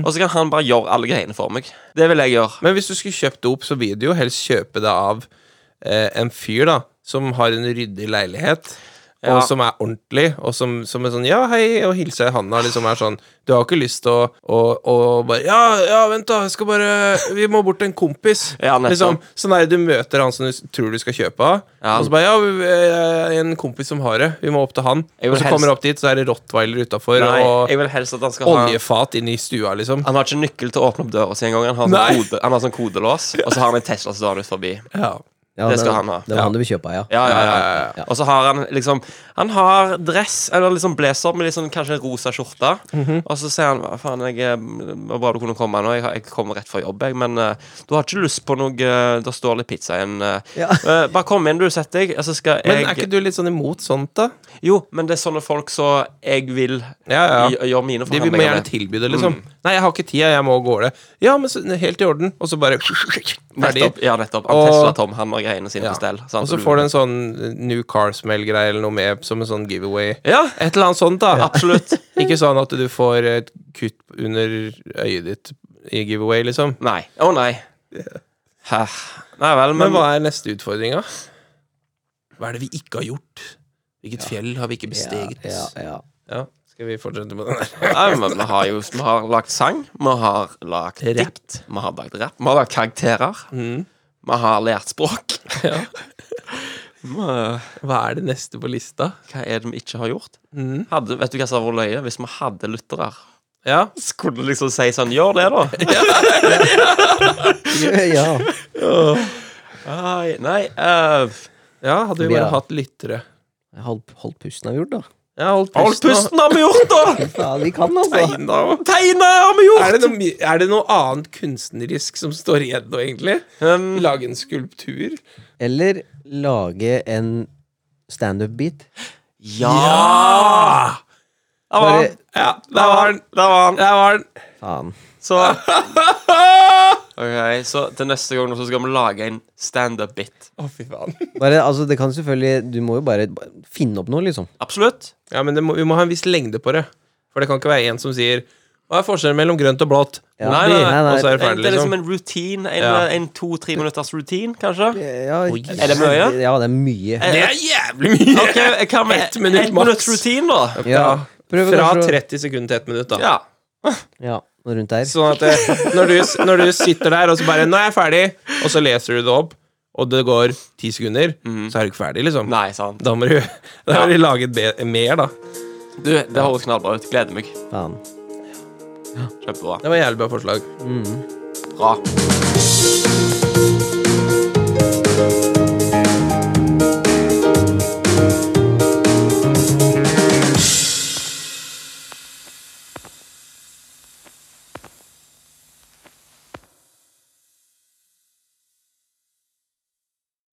Speaker 1: Og så kan han bare gjøre alle greiene for meg. Det vil jeg gjøre.
Speaker 4: Men hvis du skulle kjøpt det opp, så vil du jo helst kjøpe det av eh, en fyr da som har en ryddig leilighet,
Speaker 1: Ja.
Speaker 4: og som er ordentlig, og som, som er sånn 'ja, hei', og hilser i handa. Liksom er sånn Du har jo ikke lyst til å, å, å bare 'ja, ja, vent, da, jeg skal bare Vi må bort til en kompis'.
Speaker 1: Ja, nettopp.
Speaker 4: liksom. Sånn er det du møter han som du s- tror du skal kjøpe av,
Speaker 1: Ja.
Speaker 4: og så bare 'ja, vi- eh, en kompis som har det, vi må opp til han',
Speaker 1: Jeg
Speaker 4: og
Speaker 1: vil
Speaker 4: så
Speaker 1: helst-
Speaker 4: kommer du opp dit, så er det rottweiler utafor,
Speaker 1: Nei,
Speaker 4: og
Speaker 1: jeg vil helst at han skal ha
Speaker 4: oljefat inn i stua, liksom.
Speaker 1: Han har ikke nøkkel til å åpne opp døra si engang. Han, har sånn
Speaker 4: Nei.
Speaker 1: kode- han har sånn kodelås, og så har han en Tesla stående ut forbi.
Speaker 4: Ja.
Speaker 3: Ja,
Speaker 1: Det skal han ha.
Speaker 3: Det var han du kjøpa, ja.
Speaker 1: Ja, ja, ja,
Speaker 3: ja.
Speaker 1: Og så har han liksom Han har dress, eller liksom blazer med litt sånn, kanskje en rosa skjorte.
Speaker 4: Mhm.
Speaker 1: Og så sier han Hva faen, jeg, eh, det var bra du kunne komme nå. Jeg, har- jeg kommer rett fra jobb, jeg. Men eh, du har ikke lyst på noe eh, Det står litt pizza igjen. eh.
Speaker 3: Ja.
Speaker 1: Eh, bare kom inn, du. Sett deg. Og så skal jeg
Speaker 4: Men er ikke du litt sånn imot sånt, da?
Speaker 1: Jo, men det er sånne folk som jeg vil
Speaker 4: Ja, ja.
Speaker 1: gj- gjøre mine
Speaker 4: De vil må
Speaker 1: forhandlinger
Speaker 4: gjerne
Speaker 1: med.
Speaker 4: tilby det, liksom. 'Nei, jeg har ikke tid, jeg må gå og gårde'. Ja, men så, helt i orden. Og så bare ferdig.
Speaker 1: Nettopp, ja, nettopp. Han
Speaker 4: Og-
Speaker 1: Tesla Tom han har greiene sine
Speaker 4: Ja.
Speaker 1: på stell. sant?
Speaker 4: Og så
Speaker 1: du-
Speaker 4: får du en sånn New Car Smell-greie eller noe med som en sånn giveaway.
Speaker 1: Ja,
Speaker 4: Et eller annet sånt, da.
Speaker 1: absolutt.
Speaker 4: Ikke sånn at du får et kutt under øyet ditt i giveaway, liksom.
Speaker 1: Nei. Å, nei. Hæ. Nei vel,
Speaker 4: Men
Speaker 1: men
Speaker 4: hva er neste utfordring, da? Hva er det vi ikke har gjort? Hvilket fjell har vi ikke besteget?
Speaker 3: Ja, ja,
Speaker 4: Ja, skal vi fortsette med den der?
Speaker 1: Nei, men vi har jo Vi har lagt sang, vi har lagt dikt, vi har lagt rapp, vi har lagt karakterer. Vi har lært språk.
Speaker 4: Ja.
Speaker 1: Vi-
Speaker 4: Hva er det neste på lista?
Speaker 1: Hva er det vi ikke har gjort? Hadde, vet du hva som hadde vært løye? Hvis vi hadde lyttere,
Speaker 4: Ja.
Speaker 1: så kunne du liksom si sånn Gjør det, da.
Speaker 3: Ja.
Speaker 1: Nei, nei eh,
Speaker 4: ja, hadde vi
Speaker 3: Vi
Speaker 4: bare
Speaker 3: har-
Speaker 4: hatt lyttere.
Speaker 3: Hold, hold pusten har vi gjort, da.
Speaker 4: Ja, holdt
Speaker 1: Hold
Speaker 4: pusten.
Speaker 1: pusten, har vi gjort, da!
Speaker 3: Faen, vi kan, altså.
Speaker 4: Tegna og-
Speaker 1: Tegne har vi gjort!
Speaker 4: Er det, noe, my- er det noe annet kunstnerisk som står igjen nå, egentlig?
Speaker 1: Um,
Speaker 4: Lage en skulptur?
Speaker 3: Eller lage en standup-beat.
Speaker 1: ja! Der var
Speaker 3: Bare
Speaker 1: den.
Speaker 4: Ja, der
Speaker 1: Der
Speaker 4: var den!
Speaker 1: var den.
Speaker 4: Der var den!
Speaker 3: Faen.
Speaker 1: Så Ok, så til neste gang nå så skal vi lage en standup-bit.
Speaker 4: Å, fy faen.
Speaker 3: Bare, altså, det kan selvfølgelig Du må jo bare finne opp noe, liksom.
Speaker 1: Absolutt.
Speaker 4: Ja, men det må, vi må ha en viss lengde på det. For det kan ikke være en som sier Hva er forskjellen mellom grønt og blått?
Speaker 3: Ja.
Speaker 4: Nei, nei, nei,
Speaker 3: Nei, nei.
Speaker 4: Og så er det
Speaker 1: Det er
Speaker 4: ferdig,
Speaker 1: liksom
Speaker 4: liksom.
Speaker 1: en routine. En,
Speaker 4: Ja.
Speaker 1: en to-tre minutters routine, kanskje.
Speaker 3: Ja,
Speaker 1: Er det mye? Eh,
Speaker 3: Ja, det er mye.
Speaker 4: Det er jævlig mye!
Speaker 1: Ok, eh, hva med
Speaker 4: Ett minutt
Speaker 1: ett
Speaker 4: maks.
Speaker 1: minutts routine, da?
Speaker 3: Ja. Prøv
Speaker 4: Fra
Speaker 3: kanskje å-
Speaker 4: 30 sekunder til 1 minutt, da.
Speaker 1: Ja.
Speaker 3: Ja, noe rundt der.
Speaker 4: Sånn at det, når, du, når du sitter der og så bare 'Nå er jeg ferdig', og så leser du det opp, og det går 10 sekunder, så er du ikke ferdig, liksom.
Speaker 1: Nei, sant.
Speaker 4: Da må du, da må du lage be, mer, da.
Speaker 1: Du, det høres knallbra ut. Gleder meg.
Speaker 3: Faen.
Speaker 1: Kjempebra.
Speaker 4: Det var et jævlig bra forslag.
Speaker 1: Bra.